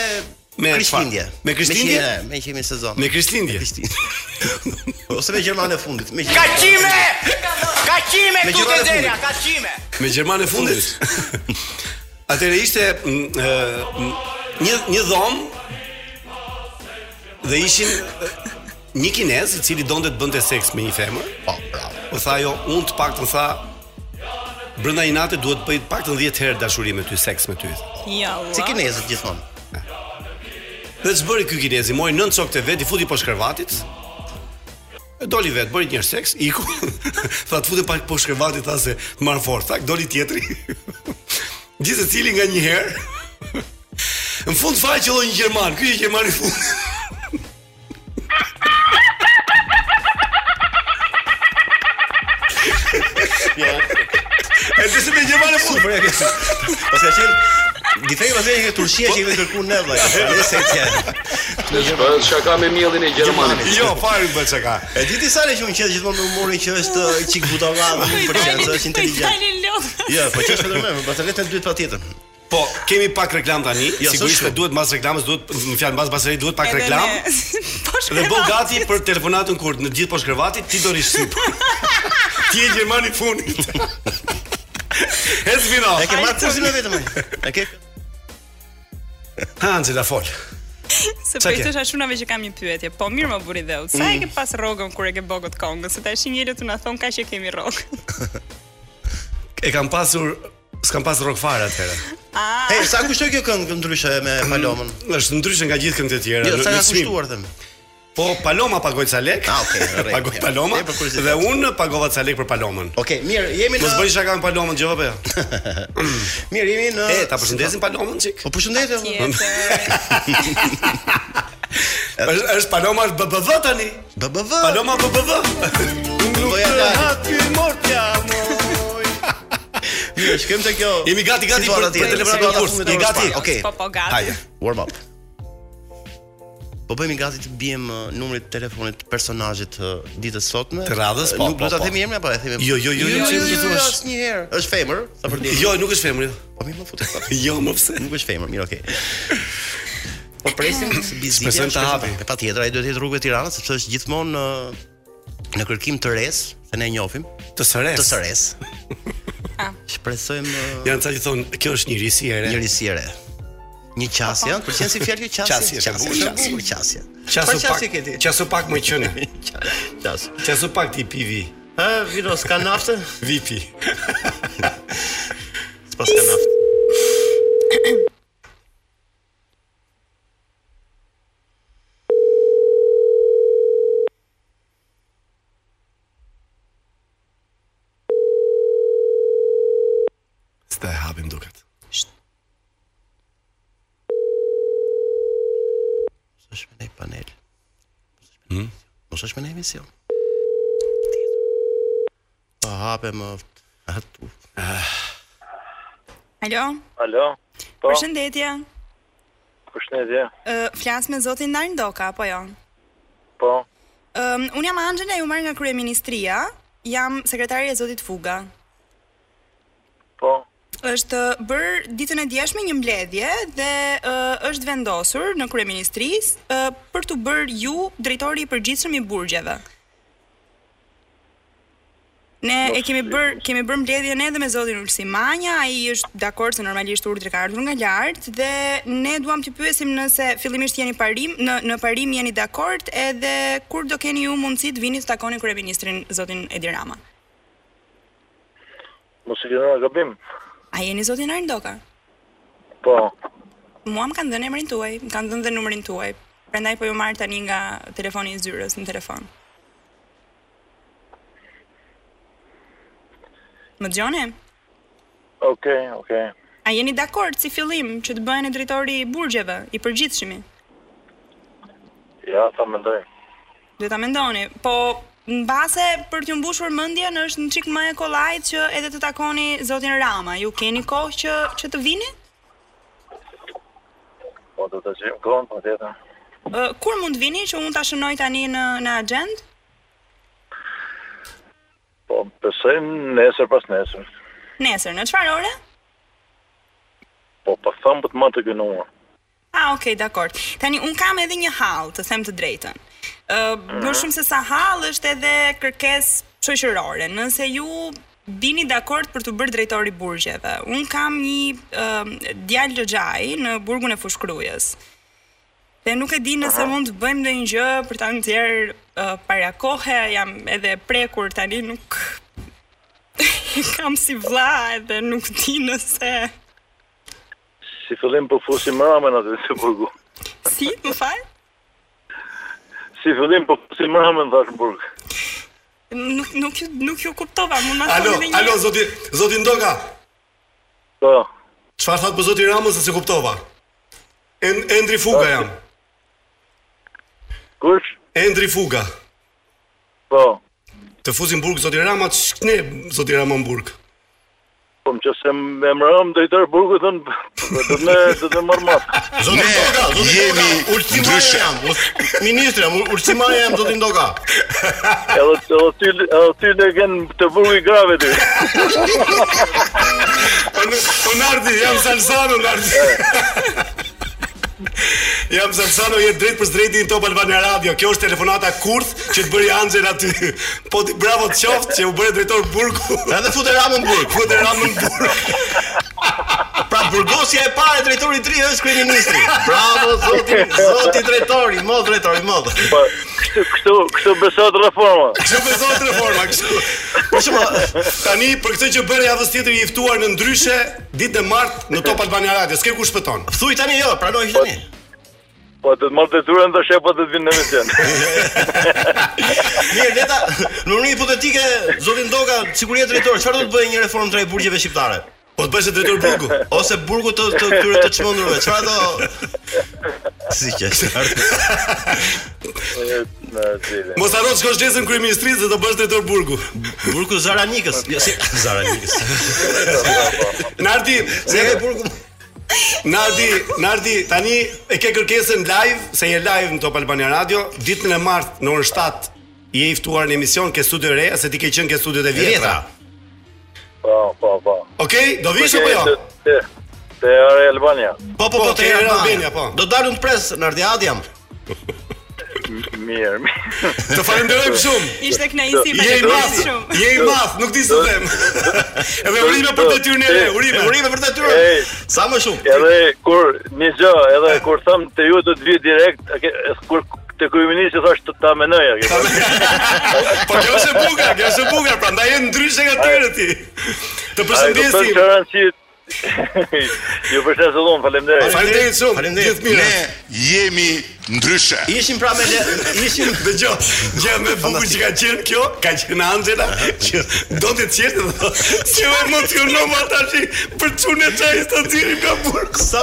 Speaker 5: Me
Speaker 6: me Krishtlindje.
Speaker 5: çfarë? Me Krishtlindje?
Speaker 6: Me qe- Me qemi sezon.
Speaker 5: Me Kristindje.
Speaker 6: Ose me Gjermanë e fundit, me
Speaker 9: Kaqime! Kaqime
Speaker 6: Me
Speaker 9: këtu
Speaker 6: gjëra
Speaker 9: të
Speaker 6: e fundit.
Speaker 9: dera, kaqime!
Speaker 5: Me Gjermanë e fundit. Atëherë ishte mm, ë, mm, një një dhomë dhe ishin ë, një kinez i cili donte të bënte seks me një femër.
Speaker 6: Po, bravo.
Speaker 5: Po tha ajo, unë të paktën tha brenda një nate duhet bëj të paktën 10 herë dashuri me ty, seks me ty.
Speaker 10: Ja. ua.
Speaker 6: Si kinezët gjithmonë.
Speaker 5: Dhe ç'bëri ky kinezi? Mori nën çokët e vet, i futi poshtë krevatit. E doli vet, bëri një herë seks, iku. tha të futi pak poshtë krevatit, tha se marr fort. Tha, doli tjetri. Gjithë secili nga një herë. Në fund fare qelloi një gjerman. Ky është gjermani i fundit.
Speaker 6: Jo.
Speaker 5: E disi me gjerman e fundit.
Speaker 6: Super e ke. Pastaj qen Difej pas e ke Turqia që i kemi kërkuar ne vllai. Ne se
Speaker 7: Shaka Po, me miellin e Gjermanit.
Speaker 5: Jo, fare më çka.
Speaker 6: E di ti sale që unë qes gjithmonë me humorin që është uh, çik butallave në përqen, se është inteligjent.
Speaker 10: Dalin lodh.
Speaker 6: Jo, po qesh vetëm me, pastaj vetë dytë patjetër.
Speaker 5: Po, kemi pak reklam tani.
Speaker 6: Jo, s'është
Speaker 5: Sigurisht se
Speaker 6: shumë.
Speaker 5: duhet mas reklamës, duhet në fjalë mbas basari duhet pak
Speaker 10: Edhe
Speaker 5: reklam.
Speaker 10: me- Po
Speaker 5: Dhe
Speaker 10: shkruaj.
Speaker 5: bën gati për telefonatën kur në gjithë poshtë krevatit ti do rish sip. ti je gjermani i funit. Ecë final.
Speaker 6: E ke marrë kursin me vetëm. E ke
Speaker 5: Ha Angela fol.
Speaker 10: Se
Speaker 5: Qa
Speaker 10: po
Speaker 5: ke? Mm.
Speaker 10: i thosha shunave që kam një pyetje. Po mirë më buri dheu. Sa e ke pas rrogën kur e ke bogot Kongën? Se tash njëri të na thon kaq që kemi rrogën.
Speaker 5: E kam pasur s'kam pas rrok fare atëherë.
Speaker 6: Hey, sa kushtoi kjo këngë ndryshe me Palomën?
Speaker 5: Është ndryshe nga gjithë këngët e tjera.
Speaker 6: Jo,
Speaker 5: në-
Speaker 6: sa
Speaker 5: në
Speaker 6: ka
Speaker 5: çmim.
Speaker 6: kushtuar them.
Speaker 5: Po Paloma pagoi ca lek.
Speaker 6: Ah, okay, rrejt,
Speaker 5: Pagoi
Speaker 6: ja.
Speaker 5: Paloma.
Speaker 6: E, për Po, kuriozitet.
Speaker 5: Dhe unë pagova ca lek për Palomën.
Speaker 6: Okej, mirë, jemi në
Speaker 5: Mos bëj shaka me Palomën, gjova
Speaker 6: Mirë, jemi në
Speaker 5: E, ta përshëndesim Palomën çik.
Speaker 6: Po përshëndetje.
Speaker 10: Tjetër.
Speaker 5: Është është Paloma është BBV tani.
Speaker 6: BBV.
Speaker 5: Paloma BBV.
Speaker 6: Doja ta. Mirë, shkojmë te kjo.
Speaker 5: Jemi gati gati për
Speaker 6: Situata
Speaker 5: për
Speaker 6: tjetër, situata
Speaker 5: telefonatën.
Speaker 6: fundit
Speaker 5: Jemi
Speaker 6: orës
Speaker 5: gati.
Speaker 6: parë. Okej.
Speaker 10: Po po gati.
Speaker 5: Hajde.
Speaker 6: Warm up. Po bëhemi gati të bijem uh, numrit të telefonit të personazhit të ditës sotme.
Speaker 5: Të radhës,
Speaker 6: Uh,
Speaker 5: po,
Speaker 6: Nuk do
Speaker 5: po,
Speaker 6: ta
Speaker 5: po.
Speaker 6: themi emrin apo e themi?
Speaker 5: Jo, jo, jo, jo, jo, jo, jo,
Speaker 6: asnjëherë. Është femër, sa për ditë.
Speaker 5: Jo, nuk është femër. jo.
Speaker 6: po më më futet.
Speaker 5: Jo, më pse.
Speaker 6: Nuk është femër, mirë, okay. Po presim të bizitin.
Speaker 5: Shpresojmë ta hapi.
Speaker 6: E patjetër, ai duhet të jetë rrugëve të Tiranës sepse është gjithmonë uh, në kërkim të res, se ne e njohim,
Speaker 5: Të sëres.
Speaker 6: të sëres.
Speaker 10: Ah.
Speaker 6: Shpresojmë uh,
Speaker 5: Janë ca që thonë, kjo është një risi e re.
Speaker 6: Njëri si e re. Një qasje, ëh, përqen si fjalë kjo
Speaker 5: Qasje,
Speaker 6: qasje, qasje,
Speaker 5: qasje,
Speaker 6: qasje, qasje. qasje.
Speaker 5: Qasu
Speaker 6: Çfarë
Speaker 5: pak,
Speaker 6: qasje ke ti?
Speaker 5: qasu pak më qënë.
Speaker 6: Qasje.
Speaker 5: Qasu pak ti pivi.
Speaker 6: Ha, virus ka naftë?
Speaker 5: Vipi.
Speaker 6: S'pas ka naftë.
Speaker 5: Sta e hapim duket.
Speaker 6: Mos është me ne panel. Mos
Speaker 5: Hmm?
Speaker 6: është me ne emision. Po hape më atu.
Speaker 10: Alo.
Speaker 7: Alo,
Speaker 10: Përshëndetje.
Speaker 7: përshëndetje.
Speaker 10: Ë flas me zotin Narin Doka apo jo?
Speaker 7: Po,
Speaker 10: Ëm um, un jam Anxhela, ju marr nga kryeministria. Jam sekretare e zotit Fuga.
Speaker 7: po,
Speaker 10: është bër ditën e djeshme një mbledhje dhe uh, është vendosur në kryeministrisë uh, për të bërë ju drejtori i përgjithshëm i burgjeve. Ne e kemi bër kemi bër mbledhjen edhe me zotin Ulsi Manja, ai është dakord se normalisht urdhri ka ardhur nga lart dhe ne duam t'ju pyesim nëse fillimisht jeni parim, në në parim jeni dakord edhe kur do keni ju mundësi të vini të takoni kryeministrin zotin Edi Rama.
Speaker 11: Mos e gjëra gabim.
Speaker 10: A jeni zotin Arndoka?
Speaker 11: Po,
Speaker 10: Mua më kanë dhënë emrin tuaj, më kanë dhënë dhe numrin tuaj. Prandaj po ju marr tani nga telefoni i zyrës në telefon. Më dëgjoni?
Speaker 11: okay, okay.
Speaker 10: A jeni dakord si fillim që të bëhen e drejtori i burgjeve, i përgjithshimi?
Speaker 11: Ja, ta mendoj.
Speaker 10: Duhet ta mendoni, po në base për t'ju mbushur mendjen është një çik më e kollajt që edhe të takoni zotin Rama. Ju keni kohë që që të vini?
Speaker 11: Po do të gjejmë kohën për tjetër.
Speaker 10: Ë, kur mund vini që unë ta shënoj tani në në agjend?
Speaker 11: Po, besojmë nesër pas nesër.
Speaker 10: Nesër, në çfarë ore?
Speaker 11: Po, po thëmë për të më të gënuar.
Speaker 10: Ah, okay, dakor. Tani un kam edhe një hall, të them të drejtën. Ë, më shumë se sa hall është edhe kërkesë shoqërore. Nëse ju bini dakord për të bërë drejtori i burgjeve. Un kam një ë djalë lëgjaj në burgun e Fushkrujës. Dhe nuk e di nëse mund të bëjmë ndonjë gjë për ta nxjerr uh, para kohe, jam edhe e prekur tani nuk kam si vlla edhe nuk di nëse
Speaker 11: Si fillim po fusim ramen atë në burgu.
Speaker 10: si, më fal.
Speaker 11: Si fillim po fusim ramen thash në burg.
Speaker 10: Nuk nuk ju nuk ju kuptova, mund ma
Speaker 5: Alo,
Speaker 10: thoni edhe një.
Speaker 5: alo zoti, zoti Ndoka.
Speaker 11: Po,
Speaker 5: Çfarë thot për zoti Ramës se kuptova? En, Endri Fuga jam.
Speaker 11: kush?
Speaker 5: Endri Fuga.
Speaker 11: Po,
Speaker 5: Të fuzin burg zoti Rama, ç'kne zoti Rama në burg.
Speaker 11: po më që se më emërëm drejtori burgu thënë, po, do të më do të marr matë.
Speaker 6: Zoti Ndoka, zoti
Speaker 5: jemi
Speaker 6: Ndoka, ultimaja
Speaker 5: ndryshe.
Speaker 6: jam, us- ministri jam, ultimaja jam zoti Ndoka.
Speaker 11: Edhe edhe ty edhe ty ne kanë të burgu i grave ti.
Speaker 5: Unardi, Po jam Salsano, Unardi. Jam Salsano, jetë drejt për drejti në Top Albania Radio. Kjo është telefonata kurth që të bëri Angel aty. Po ti bravo të qoftë që u bëre drejtor burgu.
Speaker 6: Edhe futë Ramën në burg.
Speaker 5: Futë Ramën në burg.
Speaker 6: Pra burgosja e parë e drejtorit të ri është kryeministri. Bravo zoti, zoti drejtori, mos drejtori, mos.
Speaker 11: Po, kështu kështu kështu besohet reforma.
Speaker 5: Kështu besohet reforma, kështu. Për shembull, Po tani për këtë që bëre javës tjetër i ftuar në ndryshe ditën e martë në Top Albania Radio. S'ke kush shpëton.
Speaker 6: Thuj tani jo, pranoj tani.
Speaker 11: Po do të marr detyrën tash apo do të vinë në emision.
Speaker 6: Mirë, leta, në mënyrë hipotetike, zoti Ndoka, sigurisht drejtor, çfarë do të bëjë një reformë drejt burgjeve shqiptare?
Speaker 5: Po të bësh drejtor burgu.
Speaker 6: Ose burgu të të këtyre të çmendurve, çfarë do Si që
Speaker 11: Në cilë.
Speaker 5: Mos harro të shkosh nesër në kryeministri se do bësh drejtor burgu.
Speaker 6: Burgu Zaranikës, jo si Zaranikës.
Speaker 5: Nardi, se
Speaker 6: Zera burgu.
Speaker 5: Nardi, Nardi, tani e ke kërkesën live, se je live në Top Albania Radio, ditën e martë në orën 7 je i ftuar në emision ke studio re, se ti ke qenë ke studio të vjetra.
Speaker 6: Vjetra.
Speaker 11: Po, po, po.
Speaker 5: Okej, do vish apo jo?
Speaker 11: Te te are Albania.
Speaker 6: Po po po, te
Speaker 5: Era Albania,
Speaker 6: Albania
Speaker 5: po.
Speaker 6: po. Do dalun të pres në Ardiad jam.
Speaker 11: Mirë, mirë.
Speaker 5: Të falenderojmë shumë.
Speaker 10: Ishte kënaqësi
Speaker 5: Je i madh,
Speaker 10: shumë.
Speaker 5: je i madh, nuk di se them. Edhe urime për detyrën e re, urime, urime për detyrën.
Speaker 11: Ej,
Speaker 6: Sa më shumë.
Speaker 11: edhe kur një gjë, edhe kur thëm te ju do të vi direkt, a ke- e- kur te kryeministi thash të ta menoj. a ke thënë.
Speaker 5: Po kjo është e bukur, kjo është e bukur, prandaj je ndryshe nga tjerë ti. Të
Speaker 11: Ai do të thënë
Speaker 5: përshëndesim.
Speaker 11: që rënë si Ju përshëndesim, faleminderit.
Speaker 5: Faleminderit shumë.
Speaker 6: Faleminderit.
Speaker 5: Gjithë mirë.
Speaker 12: jemi ndryshe.
Speaker 6: Ishim pra me le, ishim
Speaker 5: Dëgjoj, gjë më e bukur që ka qenë kjo, ka qenë Angela që donte të qeshte dhe thotë, "Si u emocionova tash për çunë çaj stacionin nga burg."
Speaker 6: sa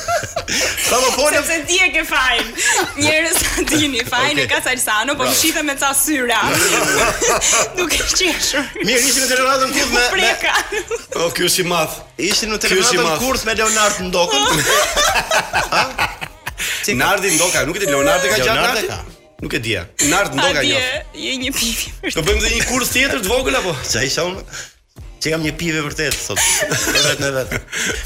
Speaker 6: sa
Speaker 5: po
Speaker 6: më folëm
Speaker 10: Sepse ti e ke fajin. Njerëz sa dini, fajin e ka Salsano, po mshite me ca syra. Duke qeshur.
Speaker 6: Mirë, ishim në telefonatën kurth me, me
Speaker 10: Preka.
Speaker 5: O, ky është i madh.
Speaker 6: ishim në
Speaker 5: Ky është i
Speaker 6: telefonatën
Speaker 5: madh.
Speaker 6: kurth me Leonard Ndokun.
Speaker 5: Nardi ndoka, nuk e di Leonardo ka gjatë
Speaker 6: Leonardo
Speaker 5: Nardi?
Speaker 6: ka.
Speaker 5: Nuk e di. Leonardo ndoka jo.
Speaker 10: Atje, je një pipi.
Speaker 5: Do bëjmë dhe një kurs tjetër të vogël apo?
Speaker 6: Sa isha unë? që kam një pive vërtet sot. Për vetën e vet.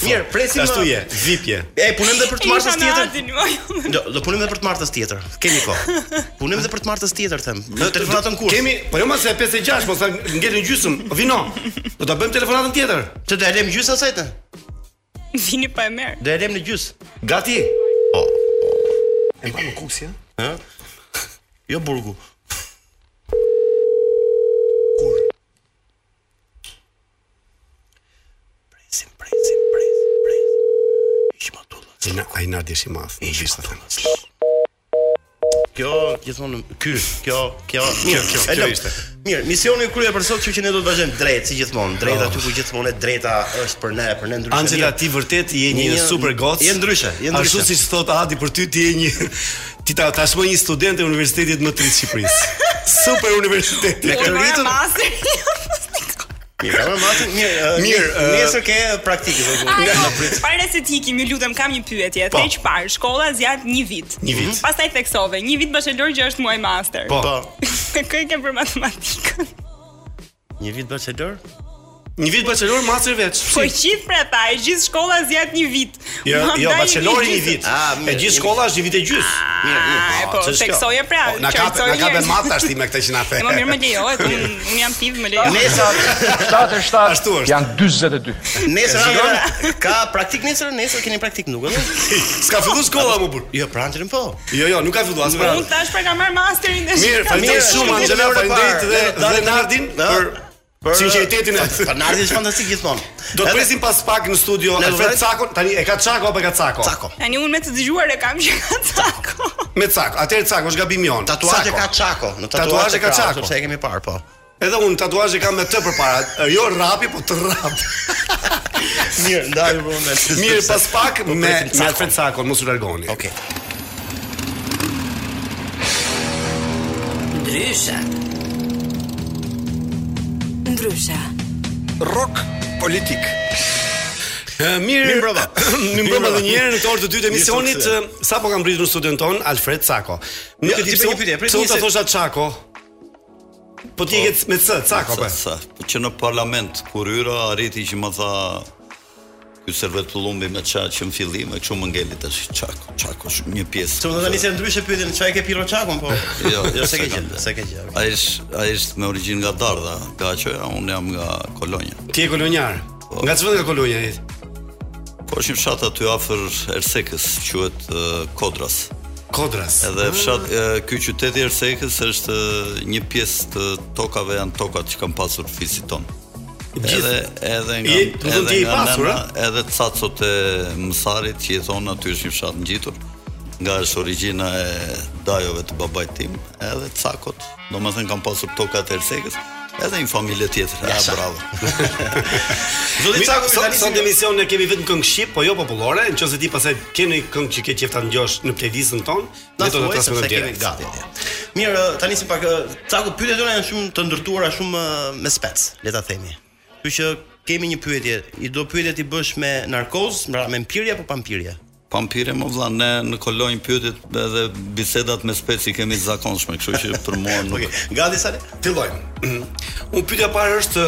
Speaker 6: Mirë, presim.
Speaker 5: Ashtu
Speaker 6: uh,
Speaker 5: je, vipje.
Speaker 6: E punojmë edhe për të martës tjetër.
Speaker 10: tjetër.
Speaker 6: Do, Jo, do punojmë edhe për të martës tjetër. Kemi kohë. Punojmë edhe për të martës tjetër them.
Speaker 5: Do
Speaker 6: Do telefonatën kur.
Speaker 5: Kemi, po jo ma se 5 e 6, mos ta ngelen gjysmë. Vino. Do ta bëjmë telefonatën tjetër.
Speaker 6: Ço do e lëm gjysmë asaj të?
Speaker 10: Vini pa e merr.
Speaker 6: Do e lëm në gjysmë.
Speaker 5: Gati.
Speaker 13: E mba në kuksi, ha?
Speaker 6: Ë? Jo burgu.
Speaker 13: Ai na ai na dish i madh. Në gjithë të them.
Speaker 6: Kjo gjithmonë ky, kjo, kjo,
Speaker 5: Kjo, kjo,
Speaker 6: e
Speaker 5: kjo
Speaker 6: lëm.
Speaker 5: ishte.
Speaker 6: Mirë, misioni i krye për sot, kështu që ne do të vazhdojmë drejt si gjithmonë. Drejta aty ku gjithmonë e drejta është për ne, për ne ndryshe.
Speaker 5: Angela
Speaker 6: Mirë.
Speaker 5: ti vërtet je një,
Speaker 6: Një-
Speaker 5: super gocë.
Speaker 6: je ndryshe, je ndryshe.
Speaker 5: Ashtu siç thot Adi për ty ti je një ti ta tashmë një student e universitetit më të rit të Shqipërisë. Super universitet.
Speaker 6: Me këtë
Speaker 10: Ora
Speaker 6: ritëm,
Speaker 10: master.
Speaker 6: mirë, pra, masin, mirë,
Speaker 5: Mirë,
Speaker 6: mirë,
Speaker 5: ë,
Speaker 6: nesër ke praktikë do
Speaker 10: Ajo,
Speaker 6: të
Speaker 10: pare se të ikim, ju lutem kam një pyetje.
Speaker 6: Po.
Speaker 10: Theq parë, shkolla zjat një vit.
Speaker 5: Një vit.
Speaker 10: Mhm. Pastaj theksove, një vit bachelor që është muaj master.
Speaker 5: Po.
Speaker 10: Kë ke për matematikën?
Speaker 6: Një vit bachelor?
Speaker 5: Një vit bachelor master veç.
Speaker 10: Po qifra ta, e gjithë shkolla zjat një vit.
Speaker 5: Jo,
Speaker 10: Ma
Speaker 5: jo
Speaker 10: ndaj
Speaker 5: bachelori një vit.
Speaker 6: Ah, mirë,
Speaker 5: E gjithë
Speaker 6: një
Speaker 5: shkolla është një vit e gjys.
Speaker 6: Mirë,
Speaker 10: Ah, e po,
Speaker 5: ç'është kjo?
Speaker 10: theksoje pra.
Speaker 13: Po, Na ka
Speaker 10: qartësoj
Speaker 13: na ka
Speaker 10: njerëz.
Speaker 13: bën mat tash ti me këtë që na the.
Speaker 10: E më mirë më lejohet, unë unë jam piv, më lejohet.
Speaker 5: Ashtu është.
Speaker 11: Janë 42.
Speaker 6: Nesër Angela, ka praktik nesër, nesër keni praktik nuk e?
Speaker 5: S'ka filluar shkolla më burr.
Speaker 6: Jo, për anërin po.
Speaker 5: Jo, jo, nuk ka filluar as pranë.
Speaker 10: Unë tash pra kam marr masterin dhe
Speaker 5: Mirë, falenderoj
Speaker 6: Mirë,
Speaker 5: shumë
Speaker 6: shumë,
Speaker 5: Angela,
Speaker 6: shumë,
Speaker 5: falenderit
Speaker 6: shumë,
Speaker 5: dhe
Speaker 6: shumë,
Speaker 5: dhe
Speaker 6: shumë,
Speaker 5: Nardin
Speaker 6: shumë,
Speaker 5: për për sinqeritetin e
Speaker 6: Fanardi është fantastik gjithmonë.
Speaker 5: Do të
Speaker 6: Edhe-
Speaker 5: presim pas pak në studio
Speaker 6: Ne do
Speaker 5: Alfred
Speaker 6: vret-
Speaker 5: Cakon. Tani e ka Çako apo e ka Cako?
Speaker 6: Cako.
Speaker 10: Tani unë me të dëgjuar e kam që ka cako.
Speaker 5: Me Cako. Atëherë Cako është gabim jon.
Speaker 6: Tatuazhe
Speaker 5: Cako.
Speaker 6: ka Çako, në
Speaker 5: Tatuazhe
Speaker 6: tatuazhe
Speaker 5: ka
Speaker 6: ka
Speaker 5: Çako.
Speaker 6: Çako, sepse e kemi parë po.
Speaker 5: Edhe unë tatuazhe kam me të përpara, jo rapi, po të rap.
Speaker 6: Mirë, ndajmë për moment.
Speaker 5: Mirë, pas pak me me
Speaker 6: Po presim Cakon.
Speaker 5: Alfred Cakon, mos u largoni.
Speaker 6: Okej.
Speaker 1: Ndryshe. Ndryshe.
Speaker 13: Rock politik.
Speaker 5: Ë, Mirë,
Speaker 6: Mirë mbrëma.
Speaker 5: Mirë mbrëma edhe një herë në këtë orë të dytë të
Speaker 6: Mirë se u
Speaker 5: emisionit,
Speaker 6: kthye.
Speaker 5: ë, sapo kam rritur në studion ton Alfred Cako. Nuk
Speaker 6: Jo,
Speaker 5: e di
Speaker 6: ti
Speaker 5: pse
Speaker 6: bëj
Speaker 5: u-
Speaker 6: një pyetje, prit
Speaker 5: pse u
Speaker 6: një
Speaker 5: ta
Speaker 6: se-
Speaker 5: thosha Çako. Po ti e ke me C, Cako
Speaker 12: Sa,
Speaker 5: po.
Speaker 12: sa, po që në parlament, kur yra, arriti që më tha, ky servet pëllumbi me qa që në fillim, e kështu më ngeli tash, qako, qako, shumë një pjesë.
Speaker 6: Ço do tani se ndryshe pyetën çfarë ke Piro Çakon po.
Speaker 12: Jo, jo,
Speaker 6: se
Speaker 12: se
Speaker 6: ke
Speaker 12: kam
Speaker 6: gjë,
Speaker 12: bërë.
Speaker 6: se ke gjë.
Speaker 12: A ish, a ish me origjinë nga Dardha, ka që unë jam nga Kolonja.
Speaker 5: Ti e kolonjar. Nga çfarë nga kolonja je?
Speaker 12: Po është një fshat aty afër Ersekës, quhet eh, Kodras.
Speaker 5: Kodras.
Speaker 12: Edhe fshat eh, ky qyteti i Ersekës është eh, një pjesë të tokave janë tokat që kanë pasur fisit ton. Edhe edhe nga
Speaker 5: Je- do të thonë ti je i pasur, eh?
Speaker 12: nëna, edhe cacot e mësarit që jeton aty është një fshat ngjitur nga është origjina e dajove të babait tim, edhe cakot, domethënë kanë pasur tokat e Ersekës, edhe një familje tjetër.
Speaker 7: Ah,
Speaker 12: Ja, bravo.
Speaker 6: Zoti Çako
Speaker 5: Mi-
Speaker 6: mi
Speaker 5: sot
Speaker 6: tani
Speaker 5: sot në
Speaker 6: si-
Speaker 5: emision ne kemi vetëm këngë shqip, po jo popullore, nëse ti pastaj ke një këngë që ke qejf ta ngjosh në playlistën tonë,
Speaker 6: Na
Speaker 5: ne do ta
Speaker 6: thuaj sepse
Speaker 5: transmetojmë
Speaker 6: kemi
Speaker 5: direkt.
Speaker 6: gati atje. Mirë, tani si pak ë, Çako pyetjet tona janë shumë të ndërtuara shumë ë, me spec, le ta themi. Kështu që kemi një pyetje, i do pyetjet i bësh me narkoz, pra me mpirje apo pa mpirje?
Speaker 12: Pampire më vlla, ne në kolonjë pyetjet edhe bisedat me speci kemi të zakonshme, kështu që për mua nuk
Speaker 6: Okej, gati sa ne?
Speaker 5: Fillojmë. Unë pyetja e parë është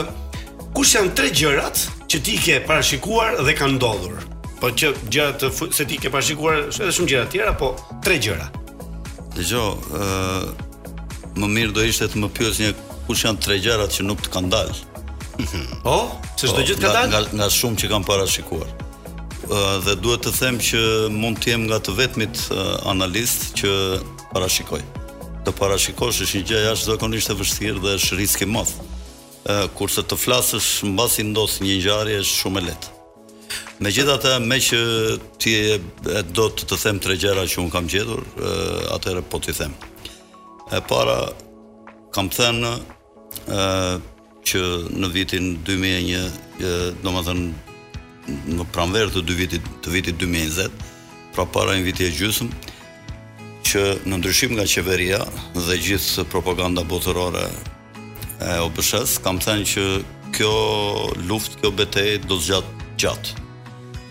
Speaker 5: kush janë tre gjërat që ti ke parashikuar dhe kanë ndodhur? Po që gjërat të fu- se ti ke parashikuar është edhe shumë gjëra të tjera, po tre gjëra.
Speaker 12: Dëgjo, ë më mirë do ishte të më pyes një kush janë tre gjërat që nuk të kanë dalë.
Speaker 5: Po, se çdo
Speaker 12: Po,
Speaker 5: gjë të ka
Speaker 12: nga-
Speaker 5: dalë.
Speaker 12: nga nga shumë që kam parashikuar. Ë dhe duhet të them që mund të jem nga të vetmit ë, analist që parashikoj. Të parashikosh është një gjë jashtëzakonisht e vështirë dhe është risk i madh. Ë kurse të flasësh mbasi ndos një ngjarje është shumë e lehtë. Megjithatë, me që ti e, e do të të them tre gjëra që un kam gjetur, ë, atëherë po t'i them. E para kam thënë ë që në vitin 2001, ë, domethënë në pranverë të dy vitit të vitit 2020, pra para një viti e gjysmë, që në ndryshim nga qeveria dhe gjithë propaganda botërore e OBSH-s, kam thënë që kjo luftë, kjo betejë do të zgjat gjatë.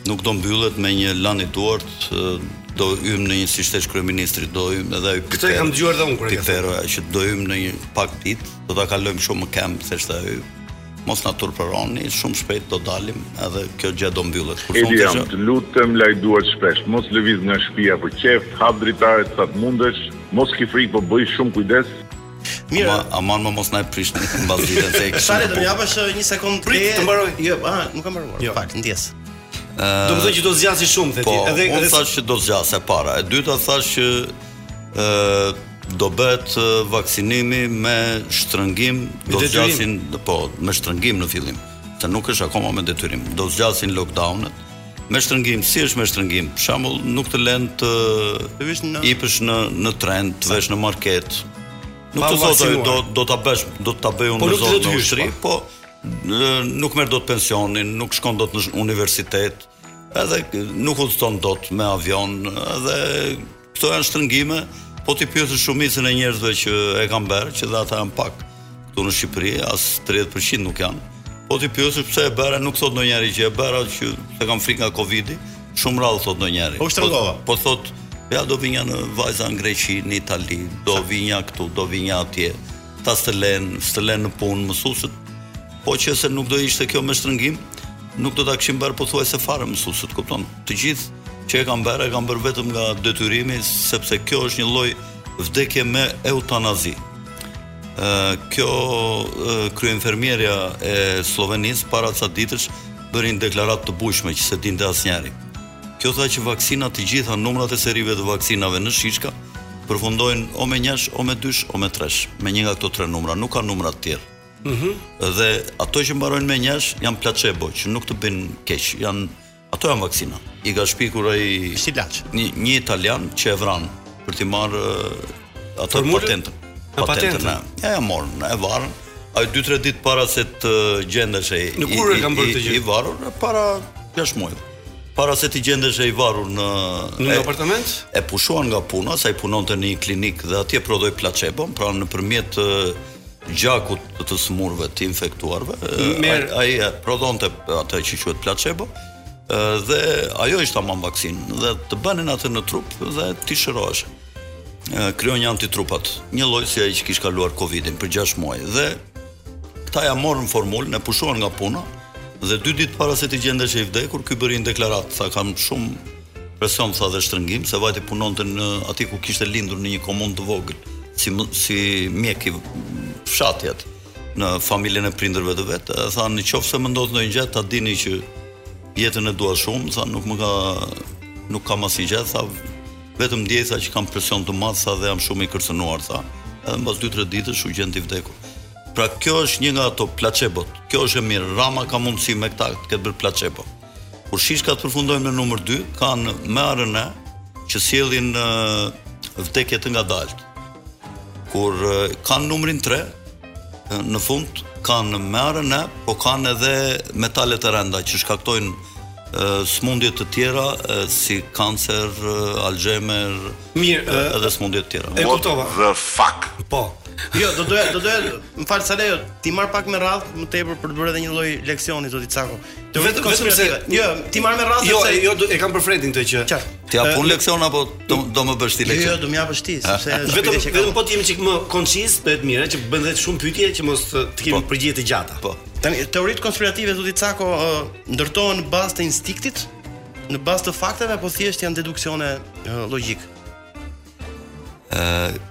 Speaker 12: Nuk do mbyllet me një lan i duart, ë, do hym në një si shtesh kryeministri, do hym edhe ai
Speaker 5: Këtë e kam dëgjuar dhe unë kur e ke
Speaker 12: Pipero, që do hym në një pak ditë, do ta kalojmë shumë më kem se shta hym.
Speaker 7: mos na turpëroni, shumë shpejt do dalim edhe kjo gjë do mbyllet.
Speaker 14: Edi jam, të lutëm lajduat shpesh, mos lëviz nga shtëpia për qef, hap dritaret sa të mundesh, mos ki frikë, po bëj shumë kujdes.
Speaker 7: Mirë, aman më mos na e prishni mbas ditës se.
Speaker 6: Shale do më japësh eh, një sekondë
Speaker 5: Prit,
Speaker 6: te-
Speaker 5: të mbaroj.
Speaker 6: Jo, ah, nuk kam mbaruar. Jo. Fakt, ndjes.
Speaker 5: Do më thënë që do zgjasi shumë the ti.
Speaker 7: Po,
Speaker 5: Edhe
Speaker 7: unë
Speaker 5: edhe
Speaker 7: thash që do zgjasë e para. E dyta thash që ë do bëhet ë, vaksinimi me shtrëngim, do
Speaker 5: detyrim.
Speaker 7: zgjasin, po, me shtrëngim në fillim, se nuk është akoma me detyrim. Do zgjasin lockdownet. Me shtrëngim, si është me shtrëngim? Për shembull, nuk të lënë të ipësh në në tren, të vesh në market. Nuk
Speaker 5: Pa
Speaker 7: të
Speaker 5: u
Speaker 7: thotë
Speaker 5: vaksinuar.
Speaker 7: do do ta bësh, do ta bëj unë
Speaker 5: Po
Speaker 7: në
Speaker 5: nuk të
Speaker 7: zonë
Speaker 5: do të
Speaker 7: në
Speaker 5: hysh,
Speaker 7: ushtri, po e, nuk merr dot pensionin, nuk shkon dot në sh- universitet, edhe k- nuk udhton dot me avion, edhe këto janë shtrëngime, po ti pyetësh shumicën e njerëzve që e kanë bërë, që dhe ata janë pak. Këtu në Shqipëri as 30% nuk janë. Po ti pyetësh pse e bëra, nuk thot ndonjëri që e bëra, që se kam frikë nga Covidi, shumë rrallë thot ndonjëri.
Speaker 6: Po u shtrëngova.
Speaker 7: Po, po thot, ja do vinja në vajza në Greqi, në Itali, do vinja këtu, do vinja atje. Ta stelen, stelen në punë mësuesit. Po që se nuk do ishte kjo me shtrëngim, nuk do ta kishim bërë pothuajse fare mësuesit, kupton? Të gjithë që e kanë bërë, e kanë bërë vetëm nga detyrimi, sepse kjo është një lloj vdekje me eutanazi. Ë, kjo ë, kryenfermierja e Slovenisë para ca ditësh bërin deklaratë të bujshme që se dinte asnjëri. Kjo tha që vaksinat të gjitha numrat e serive të vaksinave në Shishka përfundojnë o me 1, o me 2, o me 3, me një nga këto tre numra, nuk ka numra të tjerë.
Speaker 5: Mhm.
Speaker 7: Dhe ato që mbarojnë me 1 janë placebo, që nuk të bëjnë keq, janë ato janë vaksina. I ka shpikur ai
Speaker 6: Silaç.
Speaker 7: Një, një italian që e vran për të marrë ë, atë
Speaker 5: Formulën?
Speaker 7: patentën.
Speaker 5: A, patentën.
Speaker 7: e. Ja, ja morën, e varën. Ai 2-3 ditë para se të gjendesh ai
Speaker 5: Në kur e
Speaker 7: i-
Speaker 5: kanë bërë
Speaker 7: i-
Speaker 5: këtë gjë?
Speaker 7: I varur e para 6 muaj. Para se të gjendesh ai i varur në
Speaker 5: në
Speaker 7: e-
Speaker 5: apartament?
Speaker 7: e pushuan nga puna, sa i punonte në një klinik dhe atje prodhoi placebo, pra nëpërmjet ë, gjakut të- të smurëve, të infektuarve, ë, ai
Speaker 5: Merr-
Speaker 7: ai e prodhonte atë që quhet placebo, ë, dhe ajo ishte tamam vaksinë dhe të bënin atë në trup dhe ti shërohesh. Ë, Kryojnë antitrupat, një lloj si ai që kishte kaluar Covidin për 6 muaj dhe këta ja morën formulën, e pushuan nga puna dhe dy ditë para se të gjendesh i vdekur, ky bëri një deklaratë, tha kam shumë presion tha dhe shtrëngim se vajti punonte në aty ku kishte lindur në një komunë të vogël si më- si mjek i fshati aty në familjen e prindërve të vet. E tha në qoftë se më ndodh ndonjë gjë ta dini që jetën e dua shumë, tha nuk më ka nuk kam asnjë gjë, tha vetëm ndjej tha që kam presion të madh tha dhe jam shumë i kërcënuar tha. Edhe mbas 2-3 ditësh u gjend i vdekur. Pra kjo është një nga ato placebot. Kjo është e mirë. Rama ka mundësi me këta të këtë bërë placebo. Kur shishkat përfundojnë me numër 2, kanë me RNA që sjellin ë, vdekje të ngadalt. Kur ë, kanë numrin 3, në fund kanë me RNA, po kanë edhe metale të rënda që shkaktojnë ë, smundje të tjera ë, si kancer, ë, Alzheimer,
Speaker 5: Mirë,
Speaker 7: ë, edhe smundje të tjera.
Speaker 5: e kuptova.
Speaker 7: The fuck.
Speaker 5: Po.
Speaker 6: Jo, do doja, do doja, më fal Salejo, ti marr pak me radh më tepër për të bërë edhe një lloj leksioni zoti Cako. Të
Speaker 5: Vetëm vetëm se
Speaker 6: jo, ti marr me radh
Speaker 5: Jo,
Speaker 6: sepse-
Speaker 5: e- jo do- e kam për Fredin këtë që.
Speaker 7: Ti ja pun leksion apo do, do më bësh ti
Speaker 6: Jo, jo,
Speaker 7: leksion?
Speaker 6: do më japësh ti, sepse
Speaker 2: Ah, Vetëm
Speaker 6: shpirti që ka-
Speaker 2: vetëm po të jemi çik më koncis, bëhet mirë
Speaker 5: eh,
Speaker 2: që bën vetë shumë pyetje që mos të të kemi përgjigje të gjata.
Speaker 7: Po.
Speaker 6: Tani teoritë konspirative zoti Cako ë, ndërtohen në bazë të instiktit, në bazë të fakteve apo thjesht janë deduksione eh, ë, logjik.
Speaker 7: Ë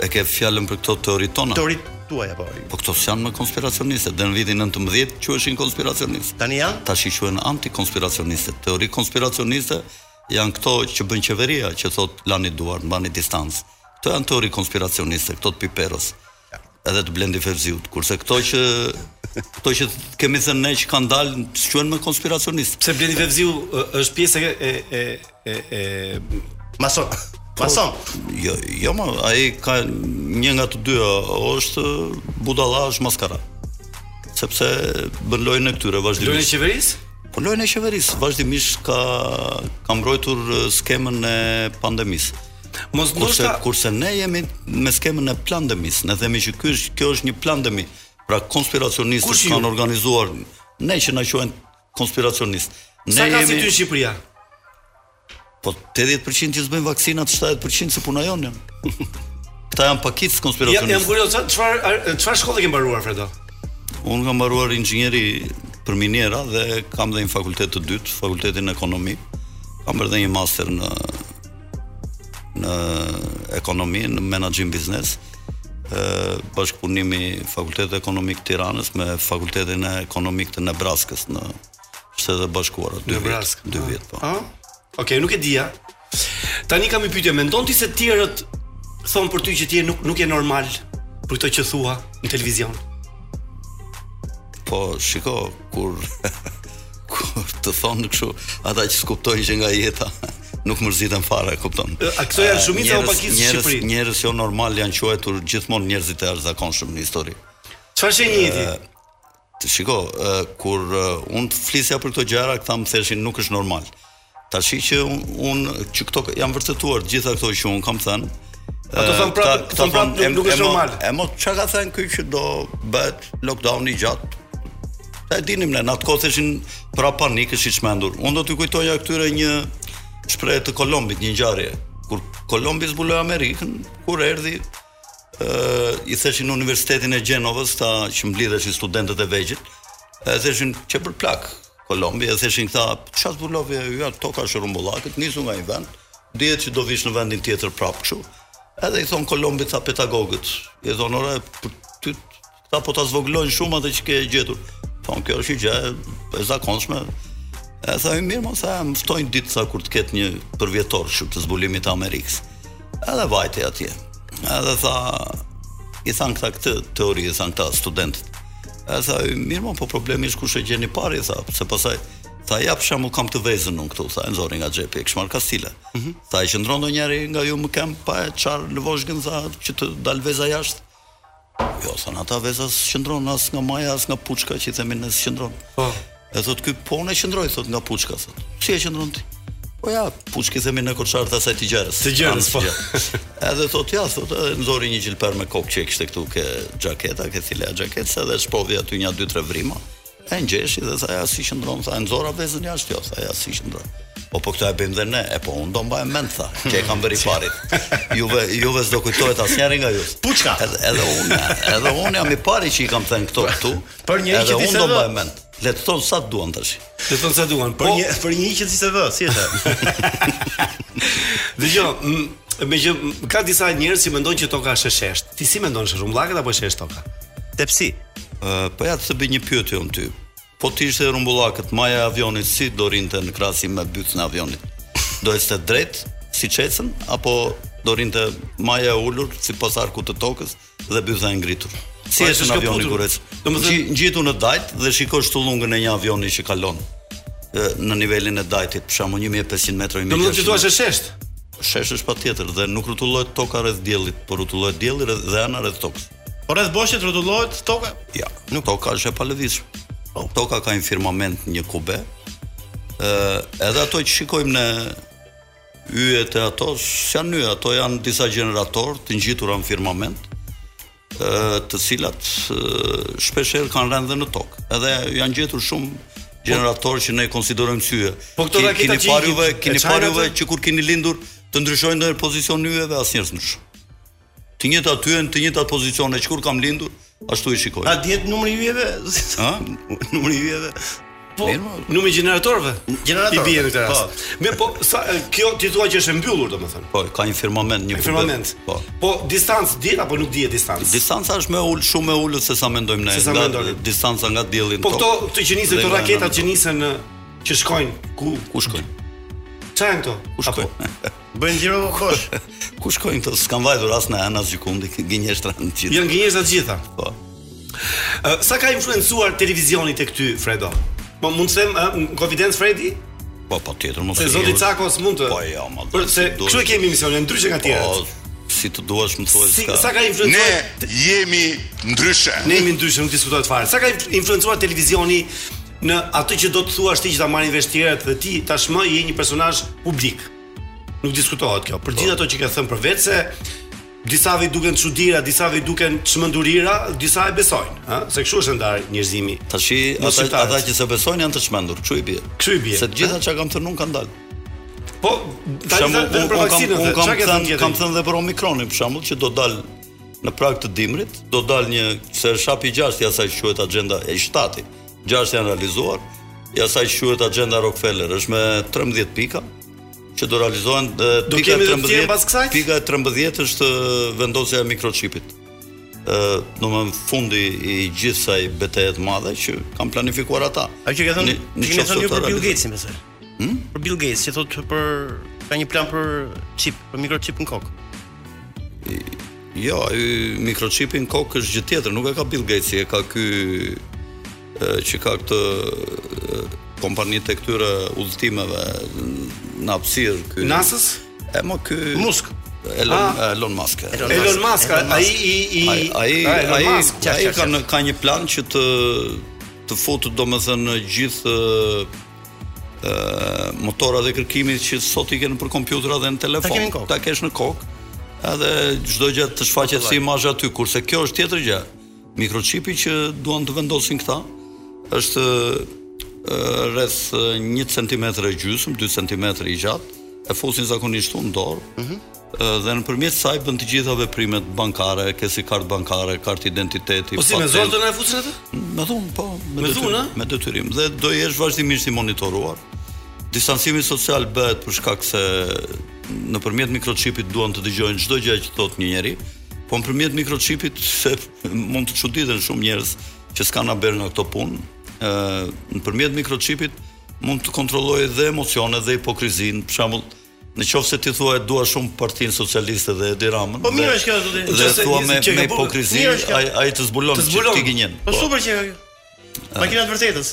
Speaker 7: e ke fjalën për këto teori tona?
Speaker 6: Teoritë tuaja po.
Speaker 7: Po këto s'janë më konspiracioniste, dhe në vitin 19 quheshin konspiracionistë.
Speaker 6: Tani janë?
Speaker 7: Tash i quhen antikonspiracioniste. Teori konspiracioniste janë këto që bën qeveria, që thot lani duar, mbani distancë. Këto janë teori konspiracioniste, këto të piperës edhe të blendi ferziut. Kurse këto që këto që kemi thënë ne që kanë dalë quhen më konspiracionistë.
Speaker 2: Pse Blendi Fevziu ë, eh, është pjesë e e e e, e... Po.
Speaker 6: mason. Mason.
Speaker 7: Jo, jo më, ai ka një nga të dyja, o është budalla, është maskara. Sepse bën lojën e këtyre vazhdimisht.
Speaker 2: Lojën e qeverisë?
Speaker 7: Po lojën e qeverisë vazhdimisht ka ka mbrojtur eh, skemën e pandemisë.
Speaker 2: Mos
Speaker 7: kurse,
Speaker 2: ndoshta-
Speaker 7: kurse ne jemi me skemën e pandemisë, ne themi që ky është kjo është një pandemi. Pra konspiracionistët
Speaker 2: Kush ju?
Speaker 7: kanë organizuar ne që na quhen konspiracionistë. Ne
Speaker 2: Sa ka si ty në Shqipëria?
Speaker 7: Po 80% që s'bëjnë vaksinat, 70% se punajon janë. Këta janë pakicë
Speaker 2: Ja, jam
Speaker 7: konspiracionistë.
Speaker 2: kurioz, sa- çfarë ar- çfarë shkolle ke mbaruar Fredo?
Speaker 7: Unë kam mbaruar inxhinieri për miniera dhe kam dhe një fakultet të dytë, fakultetin ekonomi. Kam bërë dhe një master në në ekonomi, në menaxhim biznes. Ë bashkëpunimi Fakultetit Ekonomik të Tiranës me Fakultetin Ekonomik të Nebraskës në Shtetet e Bashkuara. Dy vjet, dy vjet
Speaker 6: Ah,
Speaker 7: po.
Speaker 5: Ë? Okej, nuk e dija. Tani kam një pyetje, mendon ti se të tjerët thon për ty që ti je nuk nuk je normal për këtë që thua në televizion?
Speaker 7: Po, shiko, kur kur të thonë kështu, ata që skuptojnë që nga jeta nuk mërziten fare, kupton. Eh,
Speaker 5: Ë, a këto janë
Speaker 7: Ë,
Speaker 5: shumica o
Speaker 7: njerëz-
Speaker 5: pakisë në
Speaker 7: njerëz-
Speaker 5: Shqipëri?
Speaker 7: Njerëz jo normal janë quajtur gjithmonë njerëzit e jashtëzakonshëm në histori.
Speaker 5: Çfarë shenjë je ti?
Speaker 7: Të shiko, ë, kur ë, unë të flisja për këto gjëra, këta më theshin nuk është normal. Tashi që unë un, që këto janë vërtetuar të gjitha këto që unë kam thënë.
Speaker 5: Ato
Speaker 7: ë,
Speaker 5: thonë prapë-
Speaker 7: këta- këta
Speaker 5: thonë prapë
Speaker 7: thonë,
Speaker 5: nuk- nuk
Speaker 7: "E-
Speaker 5: është
Speaker 7: e mo-
Speaker 5: normal."
Speaker 7: E mo çka ka thënë ky që do bëhet lockdowni gjatë Ta e dinim ne, në atë kohë theshin pra panikësh i çmendur. Unë do t'ju kujtoja këtyre një shprehje të Kolombit, një ngjarje. Kur Kolombi zbuloi Amerikën, kur erdhi ë i theshin në Universitetin e Gjenovës ta që mblidheshin studentët e vegjël, e theshin që për plak Kolombi, e theshin këta, çfarë zbulove ju ja toka shërumbullakët, nisu nga një vend, dihet që do vish në vendin tjetër prapë kështu. Edhe i thon Kolombit tha pedagogët, i thon ora për ty këta po ta zvoglojnë shumë atë që ke gjetur. Thon kjo është një gjë e- e zakonshme. E tha "Hyn mirë, mos sa më ftojnë ditë sa kur të ketë një përvjetor kështu të zbulimit të Amerikës. Edhe vajte atje. Edhe tha i than këta këtë teori, i than këta studentët. E tha, mirë mo, po problemi është kush e gjeni pari, tha, se pasaj, tha, jap shemull kam të vezën unë këtu, tha, e nxori nga xhepi, e kishmar kastile. Tha, i qëndron do njeri nga ju më kem, pa e qarë në voshgën, tha, që të dal veza jashtë. Jo, tha, ata veza së qëndron, as nga maja, as nga puçka, që i themin ne së qëndron. Po. E thot, ky po unë e qëndroj, thot, nga puçka, thot. Si e qëndron ti? Po ja, puçki themin në koçar të asaj të gjerës. Të
Speaker 5: gjerës, po.
Speaker 7: Edhe thot, ja, thot, edhe nxori një gjilper me kokë që e kishte këtu ke xhaketa, ke thile xhaketës, edhe shpodhi aty një dy tre vrima. E ngjeshi dhe tha ja si qëndron, tha e nxora vezën jashtë, jo, tha ja si qëndron. Po po këtë e bëjmë dhe ne, e po unë do mbaj mend tha, që e kam bërë i parit. Juve juve s'do kujtohet asnjëri nga ju. Puçka. Edhe, edhe unë, edhe unë jam i pari që i kam thënë këto këtu.
Speaker 6: Për njëri që
Speaker 7: edhe
Speaker 6: ti se
Speaker 7: unë do
Speaker 6: do.
Speaker 7: mbaj mend. Le të thon sa duan tash.
Speaker 5: Të thonë sa duan,
Speaker 6: Po,
Speaker 5: për një
Speaker 6: për një që si se vë, si e the.
Speaker 5: Dëgjoj, jo, m- me që m- ka disa njerëz që mendojnë që toka është e sheshtë. Ti si mendon është rrumbullakët apo e sheshtë toka?
Speaker 7: Tepsi. Ë, po ja të bëj një pyetje unë ty. Po ti ishte rumbullakët, maja e avionit si do rinte në krahasim me bytën e avionit? Do ishte drejt si çesën apo do rinte maja e ulur sipas arkut të tokës dhe bytha e ngritur? Si
Speaker 5: Po,
Speaker 7: është
Speaker 5: është
Speaker 7: në avioni
Speaker 5: shkëputur.
Speaker 7: kur ecë?
Speaker 5: Domethënë-
Speaker 7: Ngji- ngjitu në dajt dhe shikosh tullungën e një avioni që kalon ë, në nivelin e dajtit, për shembull 1500 metra.
Speaker 5: Domethënë që thua është e sheshtë.
Speaker 7: Shesh është patjetër dhe nuk rrotullohet toka rreth diellit, por rrotullohet dielli rreth- dhe ana rreth tokës.
Speaker 6: Po rreth boshit rrotullohet toka?
Speaker 7: Ja, nuk toka është e palëvizshme. Po, Toka ka një firmament, një kube. Ë, edhe ato që shikojmë në yjet e ato, s'janë yje, ato janë disa gjeneratorë të ngjitura në firmament, ë, të cilat ë, shpesh herë kanë rënë dhe në tokë. Edhe janë gjetur shumë gjeneratorë që ne i konsiderojmë sy.
Speaker 5: Po këto raketa që
Speaker 7: keni parë juve,
Speaker 5: i- e
Speaker 7: keni
Speaker 5: çajnë
Speaker 7: parë juve
Speaker 5: ato?
Speaker 7: që kur keni lindur të ndryshojnë ndër pozicion yjeve asnjërs nuk. Të njëjtat aty janë të njëjtat pozicione që kur kam lindur, ashtu i shikoj.
Speaker 6: A dihet numri i yjeve?
Speaker 7: Ha? Numri i yjeve.
Speaker 5: Po,
Speaker 7: Mirë, mo.
Speaker 5: numri i gjeneratorëve.
Speaker 6: Gjeneratorëve,
Speaker 5: I bie në këtë
Speaker 6: po.
Speaker 5: rast. Me po sa e, kjo ti thua që është e mbyllur domethënë.
Speaker 7: Po, ka një firmament, një
Speaker 5: Një firmament.
Speaker 7: Po.
Speaker 5: Po distancë dihet apo nuk dihet distancë?
Speaker 7: Distanca është më ul shumë më ulët se sa mendojmë ne.
Speaker 5: Se sa
Speaker 7: nga
Speaker 5: mendoni.
Speaker 7: distanca nga dielli në
Speaker 5: Po këto
Speaker 7: tokë
Speaker 5: këto që nisin
Speaker 7: dhe
Speaker 5: këto
Speaker 7: nga
Speaker 5: raketat
Speaker 7: nëna
Speaker 5: që
Speaker 7: në
Speaker 5: nisen në- që shkojnë ku
Speaker 7: tokë. ku shkojnë?
Speaker 5: çfarë janë këto?
Speaker 7: Ku shkojnë?
Speaker 6: Bëjnë xhiro kosh.
Speaker 7: ku shkojnë këto? S'kan vajtur as në anas gjikundi, gënjeshtra në gjithë.
Speaker 5: Janë gënjeshtra të gjitha.
Speaker 7: Po.
Speaker 5: Ë, Sa ka influencuar televizioni tek ty Fredo? Po mund të them ë, në konfidencë Fredi?
Speaker 7: Po patjetër mos.
Speaker 5: Se
Speaker 7: e
Speaker 5: zoti
Speaker 7: jur-
Speaker 5: Cakos mund të.
Speaker 7: Po jo, ma.
Speaker 5: Për se
Speaker 7: duhet-
Speaker 5: kështu e kemi misionin ndryshe nga tjerët.
Speaker 7: Po, si të duash më thuaj
Speaker 5: Si
Speaker 7: s'ka.
Speaker 5: sa ka influencuar
Speaker 12: jemi ndryshe.
Speaker 5: Ne jemi ndryshe, nuk diskutohet fare. Sa ka inf- influencuar televizioni në atë që do të thuash ti që ta marrin vesh tjerët dhe ti tashmë je një personazh publik. Nuk diskutohet kjo. Për
Speaker 7: Po.
Speaker 5: gjithë ato që ke thënë për vetë se disave i duken çuditëra, disave i duken çmendurira, disa e besojnë, ha? Se kështu është ndar njerëzimi.
Speaker 7: Tashi
Speaker 5: Mos
Speaker 7: ata
Speaker 5: shqiptarët.
Speaker 7: ata që se besojnë janë të çmendur. Kështu i bie.
Speaker 5: Kështu i bie.
Speaker 7: Se të gjitha çka kam thënë unë kanë dalë.
Speaker 5: Po, tani
Speaker 7: Për shembull,
Speaker 5: vetëm për
Speaker 7: unë- unë kam-
Speaker 5: vaksinën, çka
Speaker 7: unë kam
Speaker 5: ke thënë
Speaker 7: thënë
Speaker 5: tjetër?
Speaker 7: kam thënë edhe për Omikronin për shembull që do dal në prag të dimrit do dal një se shapi 6 i asaj që quhet agjenda e 7-ti. 6 janë realizuar, i asaj që quhet agjenda Rockefeller është me 13 pika që do realizohen dhe
Speaker 5: Do
Speaker 7: pika
Speaker 5: kemi
Speaker 7: e
Speaker 5: dhe fjalë
Speaker 7: 13
Speaker 5: pas kësaj?
Speaker 7: pika e 13 është ë, vendosja e mikrochipit. ë do më thënë, fundi i gjithë saj betejë të madhe që kanë planifikuar ata.
Speaker 6: A që ke thënë,
Speaker 7: Në- në
Speaker 6: që kemi
Speaker 7: qoftë
Speaker 6: thënë ju
Speaker 7: ata
Speaker 6: për Bill
Speaker 7: realizohen.
Speaker 6: Gatesin besoj.
Speaker 7: Hm?
Speaker 6: Për Bill Gates, që thotë për ka një plan për chip, për mikrochip në kokë.
Speaker 7: Jo, i- mikrochipi në kokë është gjë tjetër, nuk e ka Bill Gates, e ka ky e, që ka këtë e, kompani të këtyre udhëtimeve n- në hapësirë ky.
Speaker 5: Nasës?
Speaker 7: E mo ky Musk. Elon,
Speaker 5: Ah.
Speaker 7: Elon Musk. e.
Speaker 5: Elon Elon Musk, Musk, ai i- i-
Speaker 7: ai ai
Speaker 5: Ah, Elon
Speaker 7: ai,
Speaker 5: Musk.
Speaker 7: ai,
Speaker 5: Qartë, qartë,
Speaker 7: ka në- ka një plan që të të futë domethënë gjithë e, motorat e kërkimit që sot i kanë për kompjutera dhe në telefon.
Speaker 6: kemi në kokë.
Speaker 7: Ta kesh në kokë. Edhe çdo gjë të shfaqet si imazh aty, kurse kjo është tjetër gjë. Mikrochipi që duan të vendosin këta është ë, rreth ë, 1 cm e gjysmë, 2 cm i gjatë, e fusin zakonisht unë në dorë. ë, dhe nëpërmjet saj bën të gjitha veprimet bankare, ke si kartë bankare, kartë identiteti,
Speaker 5: Po si me
Speaker 7: patent.
Speaker 5: zorë do na e fusin atë?
Speaker 7: Me dhunë, po.
Speaker 5: Me
Speaker 7: detyrim-
Speaker 5: dhunë, a?
Speaker 7: Me detyrim dhe do jesh vazhdimisht i monitoruar. Distancimi social bëhet për shkak se nëpërmjet mikrochipit duan të dëgjojnë çdo gjë që thot një njeri, po nëpërmjet mikrochipit se mund të çuditen shumë njerëz që s'kan aber në këto punë. ë nëpërmjet mikrochipit mund të kontrollojë dhe emocionet dhe hipokrizinë, për shembull Në qoftë se ti thua e dua shumë Partinë Socialiste dhe Edi Ramën.
Speaker 6: Po mirë
Speaker 7: dhe-
Speaker 6: është kjo zoti.
Speaker 7: Dhe
Speaker 6: Nëse-
Speaker 7: thua me
Speaker 6: që
Speaker 7: me
Speaker 6: ke bu-
Speaker 7: hipokrizinë,
Speaker 6: mirë është kjo.
Speaker 7: ai ai të zbulon,
Speaker 6: Të
Speaker 7: që
Speaker 6: zbulon.
Speaker 7: ti gjenjen.
Speaker 6: Po super që kjo. Makina të vërtetës.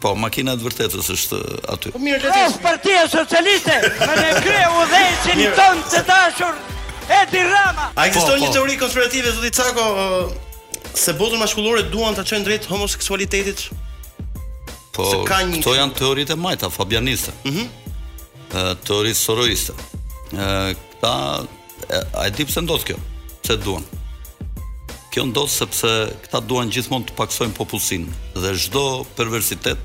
Speaker 7: Po, makina e vërtetës është aty.
Speaker 6: Po mirë le të.
Speaker 8: Of
Speaker 10: Ah.
Speaker 8: partia socialiste Më në krye u dhejqin
Speaker 6: Mirë.
Speaker 8: tonë të dashur Edi Rama
Speaker 6: A ekziston një teori konspirative zoti Cako ë, se botën maskullore duan ta çojnë drejt homoseksualitetit?
Speaker 7: Po,
Speaker 6: se ka një-
Speaker 7: këto janë teoritë e majta fabianiste. Mhm. teoritë soroiste. Ë, këta e, a e di pse ndodh kjo? Pse duan? Kjo ndodh sepse këta duan gjithmonë të paksojnë popullsinë dhe çdo perversitet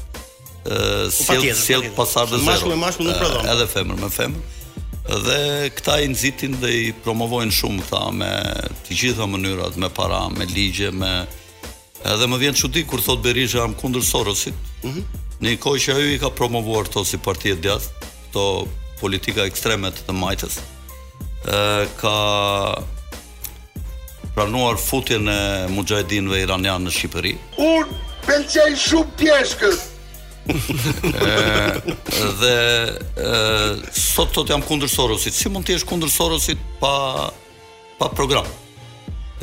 Speaker 7: ë sjell
Speaker 6: patjetër,
Speaker 7: sjell
Speaker 6: patjetër.
Speaker 7: pasardhë zero.
Speaker 6: Mashkull me mashkull nuk
Speaker 7: Ë,
Speaker 6: prodhon.
Speaker 7: Edhe femër me femër. Dhe këta i nxitin dhe i promovojnë shumë këta me të gjitha mënyrat, me para, me ligje, me edhe më vjen çudi kur thot Berisha jam kundër Sorosit.
Speaker 6: Mhm.
Speaker 7: Në një kohë që ajo i ka promovuar to si parti e djathtë, to politika ekstreme të të majtës, e, ka pranuar futjen e mujahedinëve iranian në Shqipëri.
Speaker 15: Unë pëlqej shumë pjeshkët.
Speaker 7: E, dhe e, sot tot jam kundër Sorosit. Si mund të jesh kundër Sorosit pa pa program?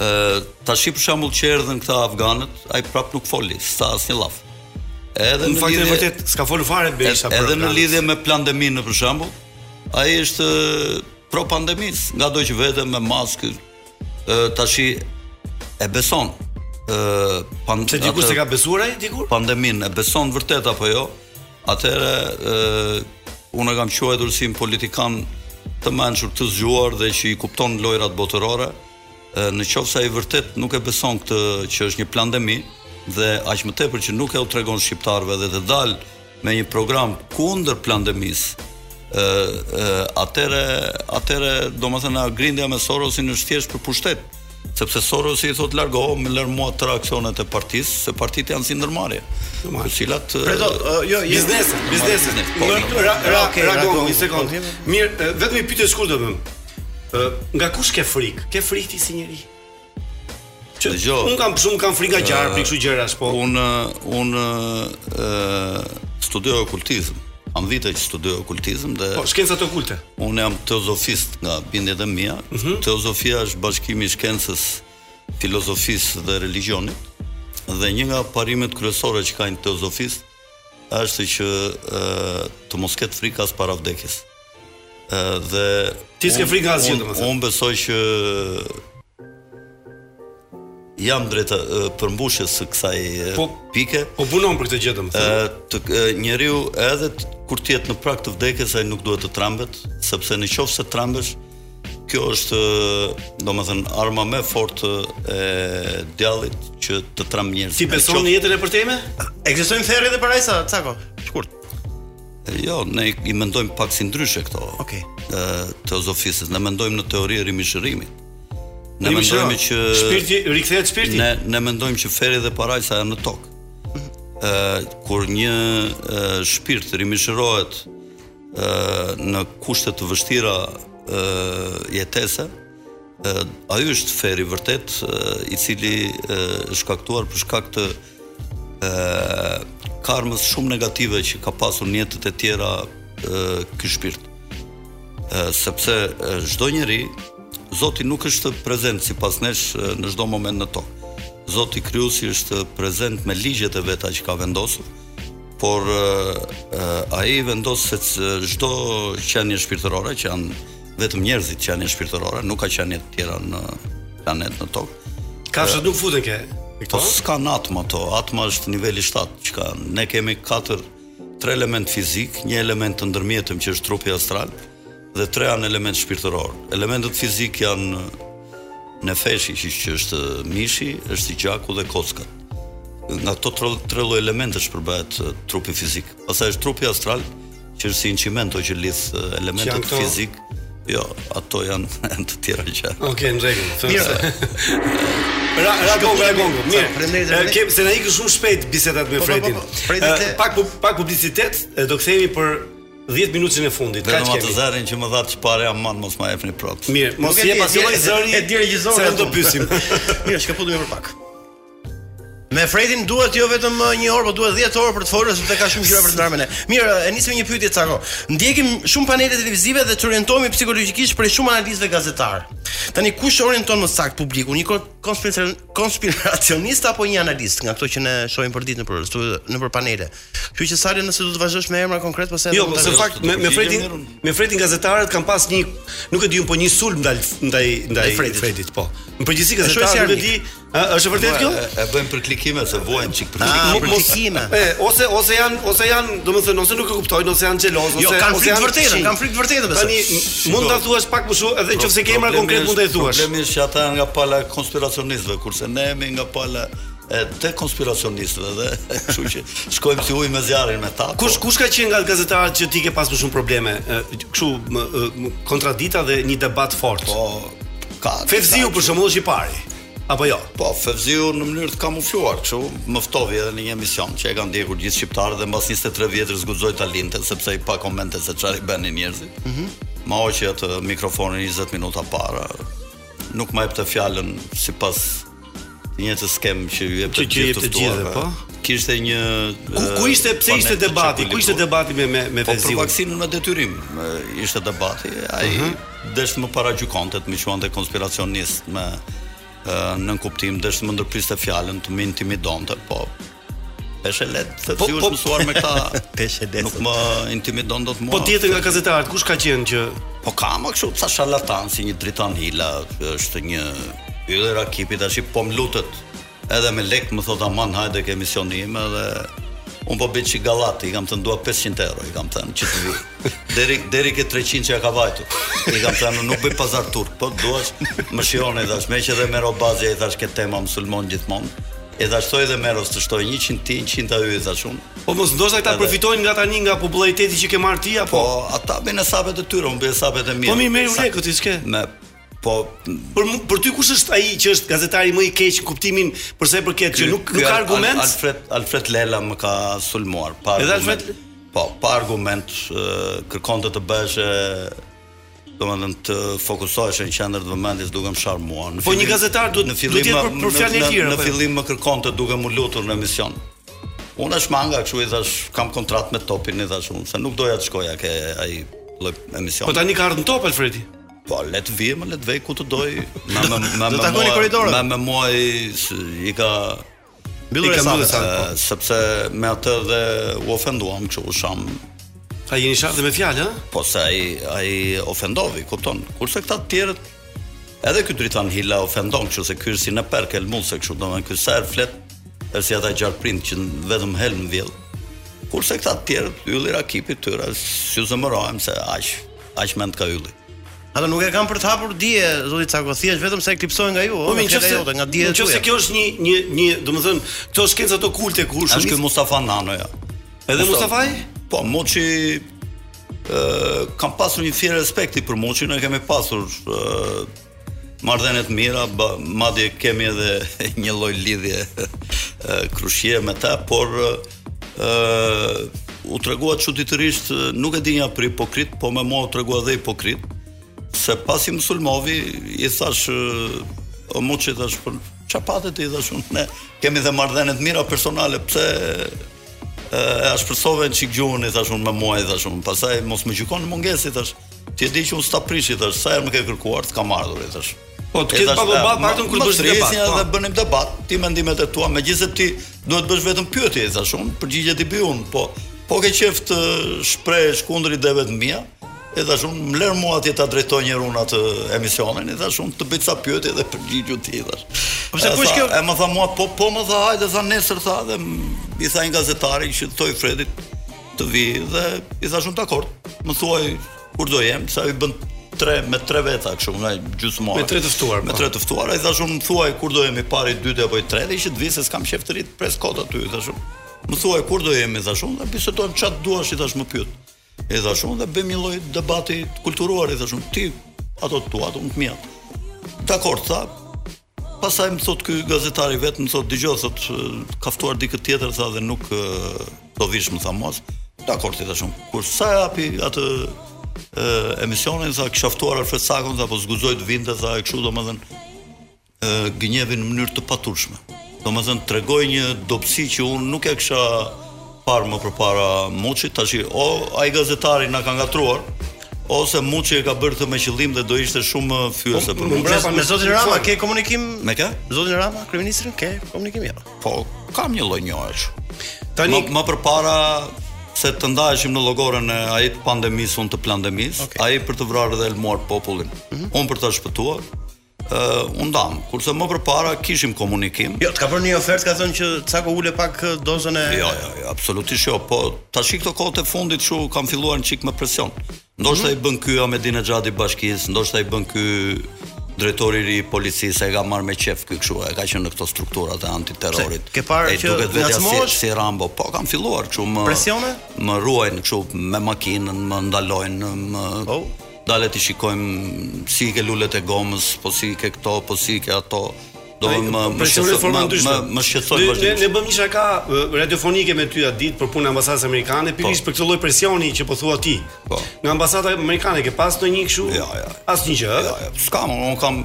Speaker 7: Ë tash për shembull që erdhën këta afganët, ai prap nuk foli, s'ta asnjë llaf. Edhe
Speaker 5: Në fakt e
Speaker 7: lidhje-
Speaker 5: vërtet s'ka folur fare Berisha për
Speaker 7: Edhe në
Speaker 5: Afganistën.
Speaker 7: lidhje me pandeminë për shembull, ai është ë, pro pandemis, nga do që vetëm me maskë ë, tashi e beson. ë pan,
Speaker 5: Se dikur
Speaker 7: atë-
Speaker 5: se ka besuar ai dikur?
Speaker 7: Pandeminë e beson vërtet apo jo? Atëherë ë unë e kam quajtur si një politikan të mençur, të zgjuar dhe që i kupton lojrat botërore. Ë, Në qoftë se ai vërtet nuk e beson këtë që është një pandemi dhe aq më tepër që nuk e u tregon shqiptarëve dhe të dal me një program kundër pandemisë, ë ë, atëre atëre domethënë grindja me Sorosin është thjesht për pushtet sepse Sorosi i thot largohu, më lër mua të aksionet e partisë, se partitë janë si ndërmarrje. Të cilat ë,
Speaker 5: Preto, jo,
Speaker 7: marrin
Speaker 5: biznes, biznes.
Speaker 7: biznes. Po,
Speaker 5: Në ra ra
Speaker 7: Okej,
Speaker 5: ragon
Speaker 7: ragon, Po,
Speaker 5: një sekond. Mirë, e, vetëm një pyetje shkurtër bëm. Ë, Nga kush ke frikë? Ke frikë ti si njeri? Që
Speaker 7: Dëgjoj.
Speaker 5: unë kam shumë kam frikë nga gjarë, frikë kështu gjërash, po.
Speaker 7: Unë unë ë studioj okultizëm. Kam vite që studioj okultizëm dhe
Speaker 5: Po, shkencat okulte.
Speaker 7: Unë jam teozofist nga bindjet e mia.
Speaker 5: Mhm.
Speaker 7: Teozofia është bashkimi i shkencës, filozofisë dhe religionit. Dhe një nga parimet kryesore që ka një teozofist është që ë të mos ketë frikë as para vdekjes. Ë dhe
Speaker 5: Ti s'ke
Speaker 7: unë-
Speaker 5: frikë nga asgjë,
Speaker 7: unë-
Speaker 5: domethënë.
Speaker 7: Unë besoj që jam drejt ë, përmbushjes së kësaj ë,
Speaker 5: Po-
Speaker 7: pike.
Speaker 5: Po punon për këtë gjë domethënë.
Speaker 7: Ë, të ë, njeriu edhe t- kur të jetë në prag të vdekjes ai nuk duhet të trembet, sepse në qoftë se trembesh, kjo është ë, domethënë arma më e fortë e djallit që të tremb njerëz.
Speaker 6: Ti beson në jetën e përtejme? Ekzistojnë therrje edhe para isa, Cako. Shkurt.
Speaker 7: Jo, ne i- i mendojmë pak si ndryshe këto.
Speaker 6: Okej.
Speaker 7: Ë teozofistët, ne mendojmë në teori e rimishërimit. Ne
Speaker 5: Jemi
Speaker 7: mendojmë që
Speaker 5: shëro. Shpirti, rikthehet shpirti?
Speaker 7: Ne ne mendojmë që feri dhe paraqja janë në tokë. Ë kur një e, shpirt rimishërohet ë në kushte të vështira ë jetese, ë ai është feri vërtet ë, i cili ë, është shkaktuar për shkak të ë karmës shumë negative që ka pasur në jetët e tjera ë ky shpirt. Ë sepse ë, çdo njeri Zoti nuk është prezent sipas nesh e, në çdo moment në tokë. Zoti krijuesi është prezent me ligjet e veta që ka vendosur, por e, e, ai vendos se c- çdo qenie shpirtërore që janë vetëm njerëzit që janë shpirtërore, nuk ka qenie të tjera në planet në tokë.
Speaker 5: Kafshët nuk futen ke.
Speaker 7: Po s'kan atma to, atma është niveli 7 që ka. Ne kemi 4 tre element fizik, një element të ndërmjetëm që është trupi astral dhe tre janë element shpirtëror. Elementet fizik janë nefeshi që që është mishi, është i gjaku dhe kockat. Nga këto tre tre lloj elementesh përbëhet e, trupi fizik. Pastaj është trupi astral që është si inqimento që lidh e,
Speaker 5: Që janë
Speaker 7: elementet
Speaker 5: këto?
Speaker 7: fizik. Jo, ato janë të tjera gjë.
Speaker 5: Okej, në rregull. thënë
Speaker 7: Mirë.
Speaker 5: se- Ra ra gongu, ra gongu. Mirë.
Speaker 6: Faleminderit,
Speaker 5: E,
Speaker 6: faleminderit.
Speaker 5: Kem se na ikën shumë shpejt bisedat me
Speaker 6: Po, po, po,
Speaker 5: Fredin.
Speaker 6: po. Fredi,
Speaker 5: E,
Speaker 6: te-
Speaker 5: Pak pu- pak publicitet, e, do kthehemi për 10 minutën e fundit. Kaç
Speaker 7: Vetëm atë
Speaker 5: kemi?
Speaker 7: zërin që më dha çfarë jam man mos ma jepni prop.
Speaker 5: Mirë, mos jep asnjë lloj zëri.
Speaker 6: E di regjisor.
Speaker 5: Se do pyesim.
Speaker 6: Mirë, shkëputemi për pak. Me Fredin duhet jo vetëm eh, një orë, por duhet 10 orë për të folur sepse ka shumë gjëra për të ndarë me ne. Mirë, eh, e nisëm një pyetje Cako. Ndjekim shumë panele televizive dhe të orientohemi psikologjikisht prej shumë analizëve gazetar. Tani kush orienton më saktë publikun, një kon- konspiracion- konspiracionist apo një analist nga ato që ne shohim për ditë nëpër stu- nëpër panele. Kështu që Sali nëse do të vazhdosh me emra konkret pastaj
Speaker 5: Jo,
Speaker 6: do
Speaker 5: po
Speaker 6: të-
Speaker 5: se fakt me, me Fredin, me Fredin gazetarët kanë pas një nuk e di un po një sulm ndaj ndaj ndaj
Speaker 6: Ndaj Fredit.
Speaker 5: Fredit, po. Në përgjithësi
Speaker 6: E shohim si
Speaker 5: gazetarët nuk e
Speaker 6: armik.
Speaker 5: di, a, është e vërtet kjo?
Speaker 7: E, e bëjmë për klikime se vuajnë çik për
Speaker 5: Ah,
Speaker 7: klikime.
Speaker 5: mos- E, ose ose janë, ose janë, domethënë ose nuk e kuptojnë, ose janë xheloz, ose
Speaker 6: Jo, kanë
Speaker 5: ose
Speaker 6: frikë
Speaker 5: po janë-
Speaker 6: vërtetën,
Speaker 5: Shi.
Speaker 6: kanë frikë vërtetën, besoj.
Speaker 5: Tani m- mund ta thuash pak më shumë, edhe nëse ke emra
Speaker 7: Problemi
Speaker 5: konkret mund ta i
Speaker 7: është-
Speaker 5: thuash.
Speaker 7: Problemi është që ata janë nga pala e konspiracionistëve, kurse ne jemi nga pala e dekonspiracionistëve dhe kështu që shkojmë si ujë me zjarrin me ta.
Speaker 5: Kush kush ka qenë nga gazetarët që ti ke pas më shumë probleme? E, Kështu më, e, më, kontradita dhe një debat fort.
Speaker 7: Po ka.
Speaker 5: Fevziu për shembull është i pari. Apo jo?
Speaker 7: Po, Fevziu në mënyrë të kamufluar, kështu më ftovi edhe në një emision që e kanë ndjekur gjithë shqiptarët dhe mbas 23 vjetësh zguxoi talentin sepse i pa komente se çfarë i bënin njerëzit. Mhm. Ma hoqi atë mikrofonin 20 minuta para. Nuk më jepte fjalën sipas të njëjtës skem që ju jep
Speaker 5: Që- që jep të gjithëve,
Speaker 7: ftuarve.
Speaker 5: po.
Speaker 7: Kishte një
Speaker 5: Ku, ku ishte pse
Speaker 7: po
Speaker 5: ishte debati? Ku ishte debati me me me
Speaker 7: me po, për
Speaker 5: Fevziu?
Speaker 7: vaksinën me detyrim e, ishte debati. Ai
Speaker 5: Mhm.
Speaker 7: uh desh më paragjykonte, të më quante konspiracionist me e, nën kuptim, desh më ndërpriste fjalën, të më intimidonte, po peshe let, se
Speaker 5: Po,
Speaker 7: ti u
Speaker 5: po-
Speaker 7: mësuar me këta
Speaker 6: peshe let.
Speaker 7: Nuk më intimidon dot mua.
Speaker 5: Po tjetër nga gazetarët, kush ka qenë që
Speaker 7: Po ka më kështu ca sharlatan si një Dritan Hila, është një yller akipi tash po mlutet. Edhe me lek më thot aman hajde ke emisioni im edhe un po bëj çik gallati, i kam thënë dua 500 euro, i kam thënë që të vi. Deri deri ke 300 që ja ka vajtur. I kam thënë nuk bëj pazar turk, po duash më shihoni thash, me që edhe me robazja i thash ke tema musulman gjithmonë. E thash thoj edhe meros të shtoj 100 ti, 100 ajo i thash unë.
Speaker 5: Po mos ndoshta ata
Speaker 7: Edhe-
Speaker 5: përfitojnë nga tani nga popullaritetin që ke marrë ti apo?
Speaker 7: Po, ata bëjnë sapet e tyre, unë bëj sapet e mia.
Speaker 5: Po mi merr
Speaker 7: Sa-
Speaker 5: lekët ti s'ke.
Speaker 7: Me po
Speaker 5: Për mu- për ty kush është ai që është gazetari më i keq në kuptimin për sa i përket që nuk nuk
Speaker 7: Ky
Speaker 5: ka
Speaker 7: Al-
Speaker 5: argument?
Speaker 7: Al- Alfred Alfred Lela më ka sulmuar pa
Speaker 5: Edhe
Speaker 7: argument.
Speaker 5: Alfred
Speaker 7: po pa argument e, kërkonte të bësh e, domethënë të fokusohesh në qendër të vëmendjes duke më sharmuar. Në
Speaker 5: Po, një
Speaker 7: fillim-
Speaker 5: gazetar duhet-
Speaker 7: në fillim
Speaker 5: duhet jetë
Speaker 7: më-
Speaker 5: për- për
Speaker 7: në-
Speaker 5: fjalën e
Speaker 7: në-
Speaker 5: lirë,
Speaker 7: Në
Speaker 5: apo jo?
Speaker 7: fillim më kërkonte duke më lutur në emision. Unë është manga, kështu i thash, kam kontratë me topin, i thash unë, se nuk doja të shkoja ke ai lloj
Speaker 5: Po
Speaker 7: emisioni.
Speaker 5: tani ka ardhur në top Alfredi.
Speaker 7: Po, le të vijë, më le të vej ku të doj. Ma më më
Speaker 6: Do
Speaker 7: më
Speaker 6: takoni
Speaker 7: mua-
Speaker 6: korridorët.
Speaker 7: Ma më mua i- s- i ka
Speaker 6: Mbyllur
Speaker 7: i ka
Speaker 6: e saktë,
Speaker 7: mbyllur
Speaker 6: saktë,
Speaker 7: e, sepse me atë dhe u ofenduam kështu u sham.
Speaker 5: Ka jeni shartë me fjalë, ëh?
Speaker 7: Po se ai ai ofendovi, kupton? Kurse këta të tjerët edhe ky Dritan Hila ofendon kështu se ky është si në perk elmuse kështu domethënë ky sa herë flet është si ata gjarprin që n- vetëm helm vjell. Kurse këta të tjerët ylli rakipit tyre, si u zëmërohem se aq aq mend ka ylli.
Speaker 6: Ata nuk e kanë për të hapur dije, zoti Cako, thjesht vetëm sa eklipsohen nga ju,
Speaker 5: Po
Speaker 6: ëh,
Speaker 5: mi
Speaker 6: nga
Speaker 5: nëse
Speaker 6: fjala jote, nga dije
Speaker 5: Nëse kjo është një një një, domethënë, këto shkenca ato kulte ku
Speaker 7: Është ky
Speaker 5: shumë.
Speaker 7: Mustafa Nanoja.
Speaker 5: Edhe Mustafaj?
Speaker 7: Po, Moçi ë kam pasur një fjerë respekti për Moçin, ne kemi pasur ë marrëdhënie të mira, ba- madje kemi edhe një lloj lidhje e, krushie me ta, por ë u tregua çuditërisht, e, nuk e di një për hipokrit, po me mua u tregua dhe hipokrit, se pasi më sulmovi, i thash ë, o moçi thash "Po, për çapate ti thash unë ne kemi dhe marrëdhënie të mira personale, pse e ashpërsove në çik gjuhën i thash unë me muaj thash unë pastaj mos më gjykon në mungesë i thash ti e di që unë sta prish i thash sa herë më ke kërkuar të kam ardhur i thash
Speaker 16: Po, të ketë pak obat, paktën kur bësh debat,
Speaker 7: debat
Speaker 16: po.
Speaker 7: edhe bënim debat ti mendimet e tua megjithëse ti duhet bësh vetëm pyetje i thash unë përgjigjet i bëj unë po po ke qef të shprehësh kundër ideve të mia E thash unë, më lërë mua atje ta drejtoj njërë unë atë emisionin, e thash unë të bëjtë sa pyetje dhe përgjigju ti, i thash.
Speaker 6: Po pse,
Speaker 7: E
Speaker 6: ku është
Speaker 7: tha-
Speaker 6: kjo?
Speaker 7: E më tha mua, po, po më tha, hajde, tha nesër, tha, dhe m- i tha një gazetari që thoi Fredit të vi, dhe i thash unë dakord, më thuaj kur do jem, sa i bën tre, me tre veta kështu, nga gjysmore.
Speaker 16: Me tre të ftuar,
Speaker 7: Me
Speaker 16: po.
Speaker 7: tre të ftuar, ai thash unë më thuaj kur do jemi pari i dytë apo i tretë, që të vi se s'kam qejf të rit pres kot aty, i thash unë. Më thuaj kur do jemi, thash unë, dhe bisedojmë çat duash, i thash më pyet. I thash unë dhe bëjmë një lloj debati të kulturuar, i thash unë, ti ato të tua, ato unë të mia. Dakor, tha. Pastaj më thot ky gazetari vetë më thot dëgjoj thot "ë, ka ftuar dikë tjetër tha dhe nuk ë, do vish më tha mos. Dakor, ti thash unë. Kur sa hapi atë e, emisionin tha kisha ftuar Alfred Sakon tha po zguzoi të vinte tha e kështu domethënë ë, gënjevin në mënyrë të paturshme. Domethënë tregoi një dobësi që unë nuk e kisha parë më përpara Muçit, tash o ai gazetari na ka ngatruar ose Muçi e ka bërë këtë me qëllim dhe do ishte shumë ë, fyese për Muçi.
Speaker 6: Pra, Me zotin Rama ke komunikim?
Speaker 7: Me kë?
Speaker 6: Zotin Rama, kryeministrin ke komunikim Jo. ja.
Speaker 7: Po, kam një lloj njohësh. Tani më, më përpara se të ndaheshim në llogorën e ai të pandemisë unë të pandemisë, okay. ai për të vrarë dhe elmuar popullin. Unë për ta shpëtuar, ë u ndam. Kurse më përpara kishim komunikim.
Speaker 6: Jo, të ka bërë një ofertë, ka thënë që Cako ule pak ë, dozën e
Speaker 7: Jo, jo, jo, absolutisht jo, po tash këto kohë të fundit shu kam filluar një çik me presion. Ndoshta i bën ky Ahmedine Xhadi bashkisë, ndoshta i bën ky drejtori i ri i policisë e ka marrë me qef ky kështu, e ka qenë në këto strukturat e antiterrorit.
Speaker 6: Pse, ke parë
Speaker 7: E
Speaker 6: që
Speaker 7: duket vetja
Speaker 6: ngacmohesh?
Speaker 7: si, si Rambo, po kam filluar kështu më
Speaker 6: Presione?
Speaker 7: Më ruajnë kështu me makinën, më ndalojnë, më oh. Dale ti shikojmë si i ke lulet e gomës, po si i ke këto, po si i ke ato. Do
Speaker 16: Ai, po,
Speaker 7: më më
Speaker 16: presion
Speaker 7: më
Speaker 16: në
Speaker 7: shqetësoj
Speaker 16: forma
Speaker 7: më,
Speaker 16: ndryshme.
Speaker 7: më, më shqetësoj
Speaker 16: Ne- Ne
Speaker 7: vazhdimisht.
Speaker 16: ne bëm një shaka ë, radiofonike me ty atë ditë për punën e ambasadës amerikane,
Speaker 7: Po.
Speaker 16: pikërisht për këtë lloj presioni që po thua ti. Po. Nga ambasada amerikane ke pas ndonjë kështu? Jo, jo. Asnjë gjë, ë?
Speaker 7: Jo, s'kam, unë unë kam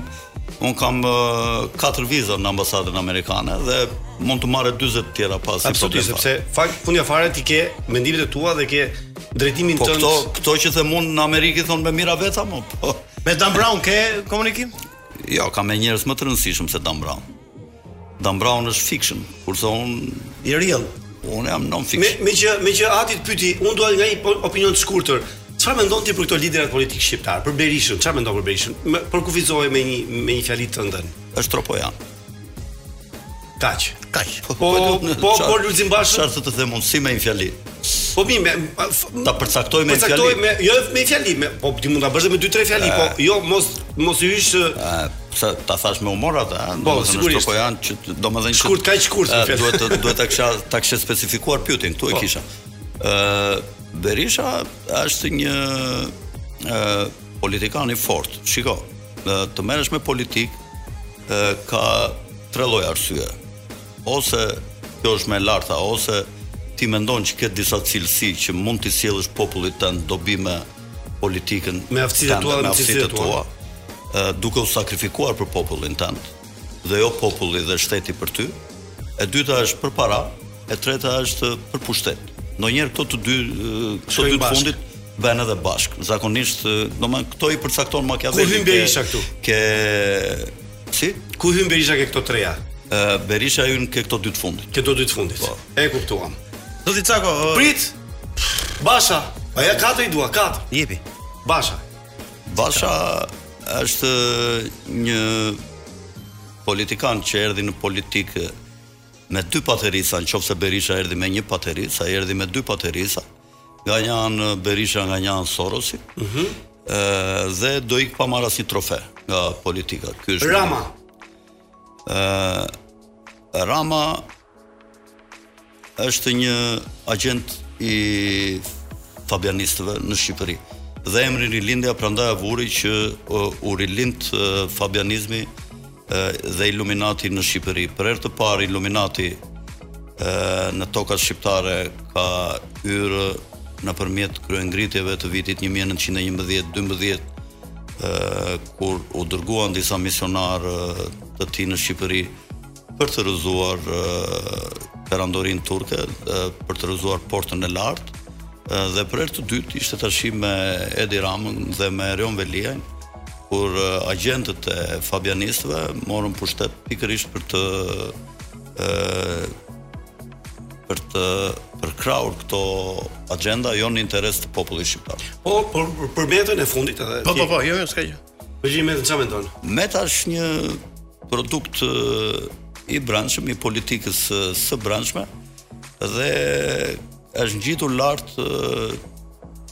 Speaker 7: unë kam ë, katër viza në ambasadën amerikane dhe mund të marrë 40 tjera pas.
Speaker 16: Absolutisht, sepse fakt fundja fare ti ke mendimet e tua dhe ke drejtimin
Speaker 7: po
Speaker 16: tënd.
Speaker 7: këto këto që them unë në Amerikë i thon me mira veta më. Po.
Speaker 6: Me Dan Brown ke komunikim?
Speaker 7: Jo, kam me njerëz më të rëndësishëm se Dan Brown. Dan Brown është fiction, kurse unë
Speaker 16: i real.
Speaker 7: Unë jam non
Speaker 16: Me,
Speaker 7: fiction.
Speaker 16: me që me që Ati të pyeti, unë dua nga një po- opinion të shkurtër. Çfarë mendon ti për këto liderat politikë shqiptar? Për Berishën, çfarë mendon për Berishën? Më- Për kufizohej me një me një fjalë të ndën.
Speaker 7: Është tropojan.
Speaker 16: Kaq.
Speaker 7: Kaq. Po
Speaker 16: po po, po Lulzim Bashën.
Speaker 7: Çfarë të them unë si me një fjali.
Speaker 16: Po mi me
Speaker 7: ta përcaktoj me një
Speaker 16: përcaktoj
Speaker 7: fjali.
Speaker 16: me jo me fjali, me po ti mund ta bësh dhe me 2-3 fjali, po jo mos mos i hysh
Speaker 7: pse ta thash me humor atë, ëh?
Speaker 16: Po, sigurisht.
Speaker 7: Po janë që domethënë që-
Speaker 16: Shkurt, kaq shkurt, në
Speaker 7: Ëh,
Speaker 16: fjalë.
Speaker 7: Duhet të duhet ta kisha ta kisha specifikuar pyetjen, këtu e
Speaker 16: Po.
Speaker 7: kisha. Ë Berisha është një ë politikan i fortë. Shiko, ë, të merresh me politik ë ka tre lloj arsye. Ose kjo është më e larta, ose ti mendon që ke disa cilësi që mund t'i sjellësh popullit tënd dobi me politikën
Speaker 16: Me aftësitë
Speaker 7: tënde,
Speaker 16: tua dhe
Speaker 7: me
Speaker 16: me cilësitë
Speaker 7: aftësitë
Speaker 16: tua.
Speaker 7: tua ë, duke u sakrifikuar për popullin tënd dhe jo populli dhe shteti për ty. E dyta është për para, e treta është për pushtet. Ndonjëherë këto të dy ë, këto
Speaker 16: Shkojnë
Speaker 7: dy të
Speaker 16: bashkë.
Speaker 7: fundit bëhen edhe bashkë. Zakonisht, ë, domethënë këto i përcakton Machiavelli.
Speaker 16: Ku hyn
Speaker 7: ke-
Speaker 16: Berisha këtu?
Speaker 7: Ke si?
Speaker 16: Ku hyn Berisha ke këto treja?
Speaker 7: Ë Berisha hyn ke këto dy të fundit.
Speaker 16: Këto dy të fundit. Po. E kuptuam.
Speaker 6: Do ti Cako, ë,
Speaker 16: Prit. Basha. A ja katër i dua, katër.
Speaker 6: Jepi.
Speaker 16: Basha.
Speaker 7: Basha është një politikan që erdhi në politikë me dy paterisa, në qofë se Berisha erdi me një paterisa, erdi me dy paterisa, nga një anë Berisha, nga një anë Sorosi,
Speaker 16: Mhm.
Speaker 7: ë, dhe do ikë pa marrë asnjë trofe nga politika. Ky është
Speaker 16: Rama.
Speaker 7: ë Rama është një agent i fabianistëve në Shqipëri. dhe emri rilindja prandaj avuri që uh, u rilind uh, fabianizmi uh, dhe iluminati në Shqipëri. Për herë të parë iluminati uh, në tokat shqiptare ka hyrë nëpërmjet kryengritjeve të vitit 1911-12 uh, kur u dërguan disa misionar uh, të tij në Shqipëri për të rrëzuar uh, perandorin turke, uh, për të rrëzuar portën e lartë dhe për herë të dytë ishte tashi me Edi Ramën dhe me Rion Veliajn kur uh, agjentët e fabianistëve morën pushtet pikërisht për të uh, për të përkrahur këto agjenda jo në interes të popullit shqiptar.
Speaker 16: Po, për për, për metën e fundit edhe.
Speaker 6: Po, po, po, jo, jo, s'ka gjë.
Speaker 16: Po gjej metën çfarë mendon?
Speaker 7: Meta është një produkt uh, i branshëm, i politikës uh, së branshme dhe është ngjitur lart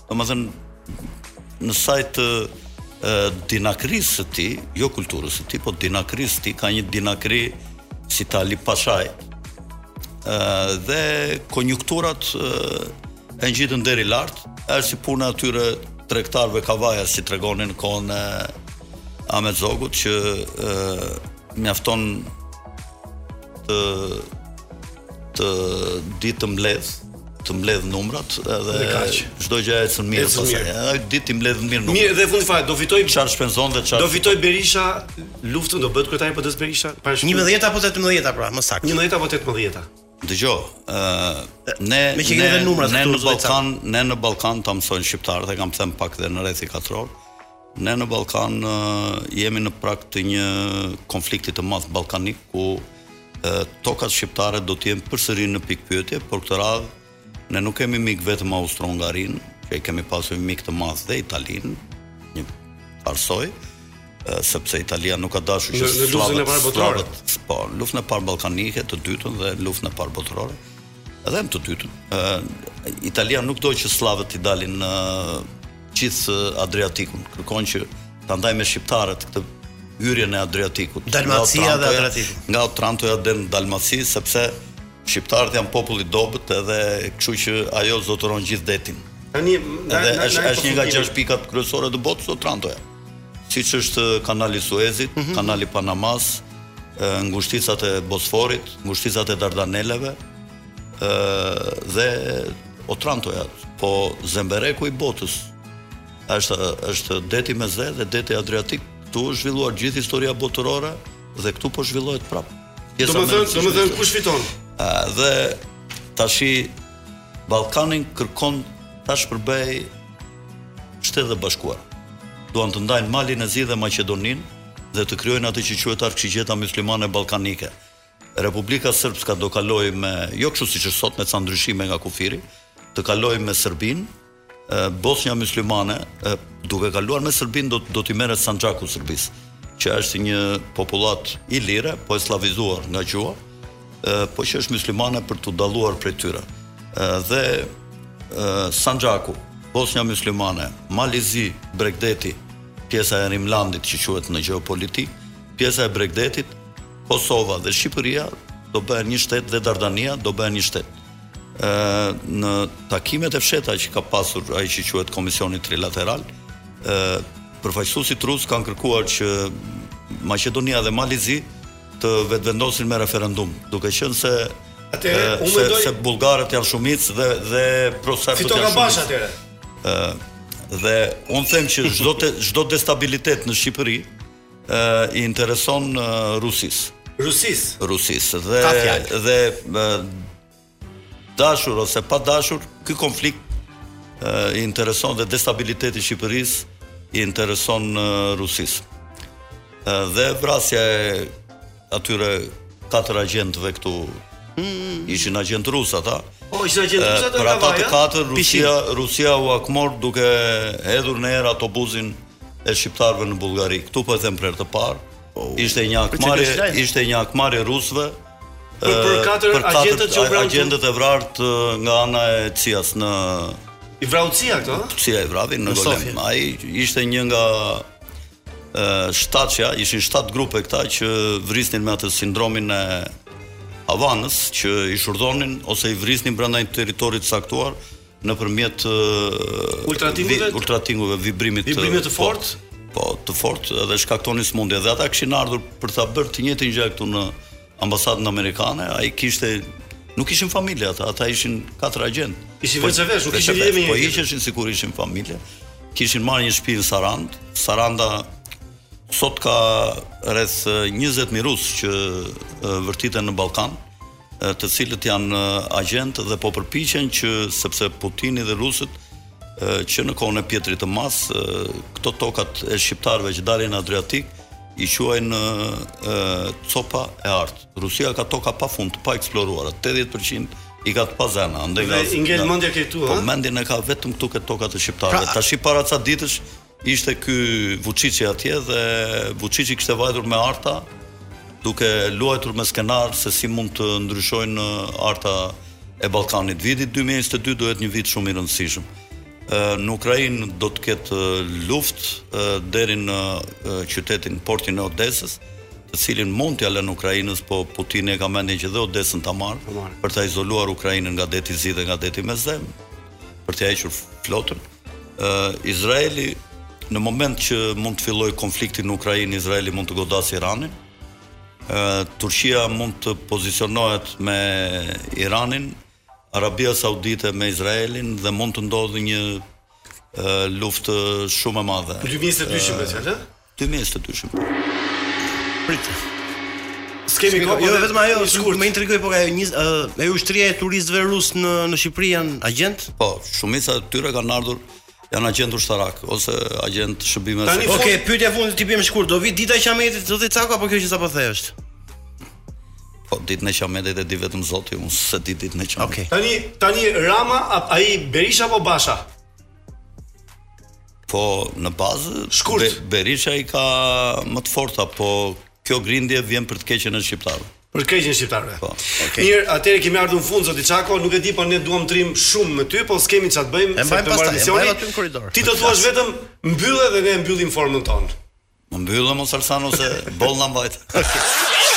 Speaker 7: domethënë në sajt të dinakrisë së ti, jo kulturës së ti, po dinakrisë së ti ka një dinakri si Tali Pashaj. ë dhe konjunkturat e ngjitën deri lart, është si puna atyre tregtarëve kavaja si tregonin kohën e Ahmet Zogut që ë mjafton të të ditë të mbledh të mbledh numrat edhe çdo gjë ecën mirë
Speaker 16: Ecën
Speaker 7: pastaj.
Speaker 16: mirë.
Speaker 7: Edhe ditë i mbledh mirë numrat.
Speaker 16: Mirë, dhe fund fare do fitoj
Speaker 7: çfarë shpenzon dhe çfarë.
Speaker 16: Do fitoj Berisha luftën, do bëhet kryetari i PD-s Berisha para shkrimit.
Speaker 6: 11 apo 18 pra, më saktë.
Speaker 16: 11 apo 18.
Speaker 7: Dëgjoj, ë ne
Speaker 6: Me që keni dhe numrat
Speaker 7: ne
Speaker 6: këtu,
Speaker 7: në
Speaker 6: zoti
Speaker 7: Ballkan, ne në Ballkan ta mësojnë shqiptarët, e kam thënë pak dhe në rrethi katror. Ne në Ballkan ë, jemi në prag të një konflikti të madh ballkanik ku ë, tokat shqiptare do të jenë përsëri në pikë pyetje, por këtë radhë ne nuk kemi mik vetëm Austro-Hungarinë, që i kemi pasur mik të madh dhe Italinë, një arsoj, ë, sepse Italia nuk ka dashur që
Speaker 16: Në- në luftën e
Speaker 7: slavët-
Speaker 16: parë botërore.
Speaker 7: slavët- Po, në luftën e parë ballkanike të dytën dhe luftën e parë botërore. Edhe në të dytën. ë Italia nuk do që slavët i dalin në gjithë ë, Adriatikun. Kërkon që ta ndaj me shqiptarët këtë hyrjen e Adriatikut.
Speaker 6: Dalmacia
Speaker 7: Nga Otrantoja-
Speaker 6: dhe Adriatiku.
Speaker 7: Nga Otrantoja deri në Dalmaci sepse shqiptarët janë popull i dobët edhe kështu që ajo zotëron gjithë detin.
Speaker 16: Tani
Speaker 7: Edhe është është
Speaker 16: po
Speaker 7: një nga gjashtë pikat kryesore të botës Otrantoja. Siç është uh, kanali i Suezit,
Speaker 16: Mhm.
Speaker 7: kanali i Panamas, ë, ngushticat e Bosforit, ngushticat e Dardaneleve, ë dhe Otrantoja, po Zembereku i botës. Është uh, është deti me ze dhe deti Adriatik, këtu është zhvilluar gjithë historia botërore dhe këtu po zhvillohet prapë. Pjesa më e
Speaker 16: Domethënë,
Speaker 7: rëndësishme e
Speaker 16: domethënë
Speaker 7: historisë.
Speaker 16: kush fiton?
Speaker 7: Ë, dhe tashi Ballkanin kërkon tash përbëj shtetë dhe bashkuar. Duan të ndajnë Malin e Zi dhe Maqedoninë dhe të krijojnë atë që quhet arksigjeta myslimane ballkanike. Republika Srpska do kaloj me, jo kështu siç është sot me ca ndryshime nga kufiri, të kaloj me Serbinë, ë, Bosnja myslimane, ë, duke kaluar me Serbinë do do t'i merret Sanxhaku Serbisë, që është një popullat i lirë, po e slavizuar nga gjuha, ë, po që është myslimane për t'u dalluar prej tyre. Ë, Dhe ë, Sanxhaku, Bosnja myslimane, Malizi, Bregdeti, pjesa e Rimlandit që quhet në gjeopolitik, pjesa e Bregdetit, Kosova dhe Shqipëria do bëhen një shtet dhe Dardania do bëhen një shtet. Ë në takimet e fsheta që ka pasur ai që quhet Komisioni Trilateral, ë përfaqësuesit rus kanë kërkuar që Maqedonia dhe Malizi të vetvendosin me referendum, duke qenë se
Speaker 16: Atëherë,
Speaker 7: ë,
Speaker 16: unë
Speaker 7: se,
Speaker 16: mendoj-
Speaker 7: se bullgarët janë shumicë dhe dhe prosartët
Speaker 16: Fiton
Speaker 7: janë
Speaker 16: nga bash
Speaker 7: shumicë.
Speaker 16: atëre.
Speaker 7: Ë dhe un them që çdo te- çdo destabilitet në Shqipëri ë i intereson ë, Rusisë.
Speaker 16: Rusis.
Speaker 7: Rusisë dhe
Speaker 16: Ka fjalë.
Speaker 7: dhe ë, dashur ose pa dashur, ky konflikt ë, i intereson dhe destabiliteti i Shqipërisë i intereson ë, Rusisë. Ë, Dhe vrasja e atyre katër agjentëve këtu
Speaker 16: Hmm.
Speaker 7: ishin agjentë rusë ata.
Speaker 16: Po, ishin
Speaker 6: Eh,
Speaker 16: agjentë rusë
Speaker 7: Ë,
Speaker 16: ato
Speaker 7: Për ata të
Speaker 16: Kavaja?
Speaker 7: katër
Speaker 16: Pishin.
Speaker 7: Rusia Rusia u akmor duke hedhur në erë autobusin e shqiptarëve në Bullgari. Këtu po e them për herë të parë.
Speaker 16: Oh.
Speaker 7: Ishte një
Speaker 6: Për çfarë
Speaker 7: akmarrje,
Speaker 6: lajm?
Speaker 7: ishte një akmarrje rusëve.
Speaker 16: Për-
Speaker 6: eh,
Speaker 16: për
Speaker 7: ë,
Speaker 16: katër agjentët që u
Speaker 7: a-
Speaker 16: vranë këtu?
Speaker 7: agjentët e vrarë të- nga ana e CIA-s në
Speaker 16: I vraucia këto? ha?
Speaker 7: CIA i vravi në,
Speaker 16: Në Sofje.
Speaker 7: Golem. Ai ishte një nga ë shtatja, ishin shtat grupe këta që vrisnin me atë sindromin e Havanës që i shurdhonin ose i vrisnin brenda një territori të caktuar nëpërmjet ë,
Speaker 16: Ultratingujve?
Speaker 7: vi- ultratingujve, vibrimit
Speaker 16: Vibrimit të
Speaker 7: po,
Speaker 16: fortë?
Speaker 7: Po, të fortë edhe shkaktonin smundje dhe ata kishin ardhur për ta bërë të njëjtin gjë këtu në ambasadën amerikane, ai kishte nuk ishin familje ata, ata ishin katër agent.
Speaker 16: Ishin
Speaker 7: Po,
Speaker 16: veç e vesh, nuk
Speaker 7: veç e
Speaker 16: kishin
Speaker 7: vesh,
Speaker 16: lidhje me
Speaker 7: Po
Speaker 16: njëri
Speaker 7: ishin sikur ishin familje. Kishin marrë një shtëpi në Sarand. Saranda sot ka rreth eh, 20 mirus që eh, vërtiten në Ballkan, eh, të cilët janë eh, agent dhe po përpiqen që sepse Putini dhe rusët eh, që në kohën e Pjetrit të Mas, eh, këto tokat e shqiptarëve që dalin në Adriatik i quajnë eh, eh, copa e artë. Rusia ka toka pa fund, pa eksploruara. 80% i ka të pa zemra, andaj
Speaker 16: Dhe i ngel mendja ke tu,
Speaker 7: po,
Speaker 16: ha?
Speaker 7: mendjen e ka vetëm këtu këtë tokat e shqiptarëve.
Speaker 16: Pra-
Speaker 7: Tash i para ca ditësh ishte ky Vučići atje dhe Vučići kishte vajtur me arta duke luajtur me skenar se si mund të ndryshojnë ë, arta e Ballkanit. Viti 2022 duhet një vit shumë i rëndësishëm. Ë, Në Ukrainë do të ketë uh, ë, luftë ë, deri në ë, uh, qytetin portin e Odesës, të cilin mund t'ja lënë Ukrainës, po Putini e ka mendjen që dhe Odesën ta marr për ta izoluar Ukrainën nga deti i zi dhe nga deti me zem, për të hequr flotën. Ë Izraeli në moment që mund të filloj konflikti në Ukrainë, Izraeli mund të godasë Iranin. Ë, Turqia mund të pozicionohet me Iranin, Arabia Saudite me Izraelin dhe mund të ndodhë një ë, luftë shumë e madhe.
Speaker 16: Për 2022
Speaker 7: Ë,
Speaker 16: me fjalë?
Speaker 7: 2022 po.
Speaker 6: Prit.
Speaker 16: Skemi kohë,
Speaker 6: Jo
Speaker 16: po,
Speaker 6: vetëm ajo,
Speaker 16: i
Speaker 6: sikur më intrigoi po ka ajo një uh, ajo ushtria e turistëve rus në në Shqipëri janë agent?
Speaker 7: Po, shumica e tyre kanë ardhur janë agent ushtarak ose agent Po, shërbime
Speaker 6: Okej, okay, pyetja fundit ti bëjmë shkurt. Do vi dita e Qametit zoti Cako apo kjo që sapo the është?
Speaker 7: Po ditën e Qametit e di vetëm Zoti, unë se di ditën e Qametit. Okej.
Speaker 16: Tani tani Rama ap- ai Berisha apo Basha?
Speaker 7: Po në bazë shkurt Berisha i ka më të forta, po kjo grindje vjen për të keqen e shqiptarëve.
Speaker 16: Për të keqen e shqiptarëve.
Speaker 7: Po.
Speaker 16: Okay. Mirë, atëherë kemi ardhur në fund zoti Çako, nuk e di po ne duam trim shumë me ty, po s'kemi ç'a të bëjmë
Speaker 6: E mbajmë
Speaker 16: të marrë
Speaker 6: pastaj, e
Speaker 16: emisioni.
Speaker 6: mbajmë aty në korridor.
Speaker 16: Ti do thua vetëm mbyllë dhe ne mbyllim formën tonë.
Speaker 7: Më mbyllë mos Alsan ose boll na mbajt.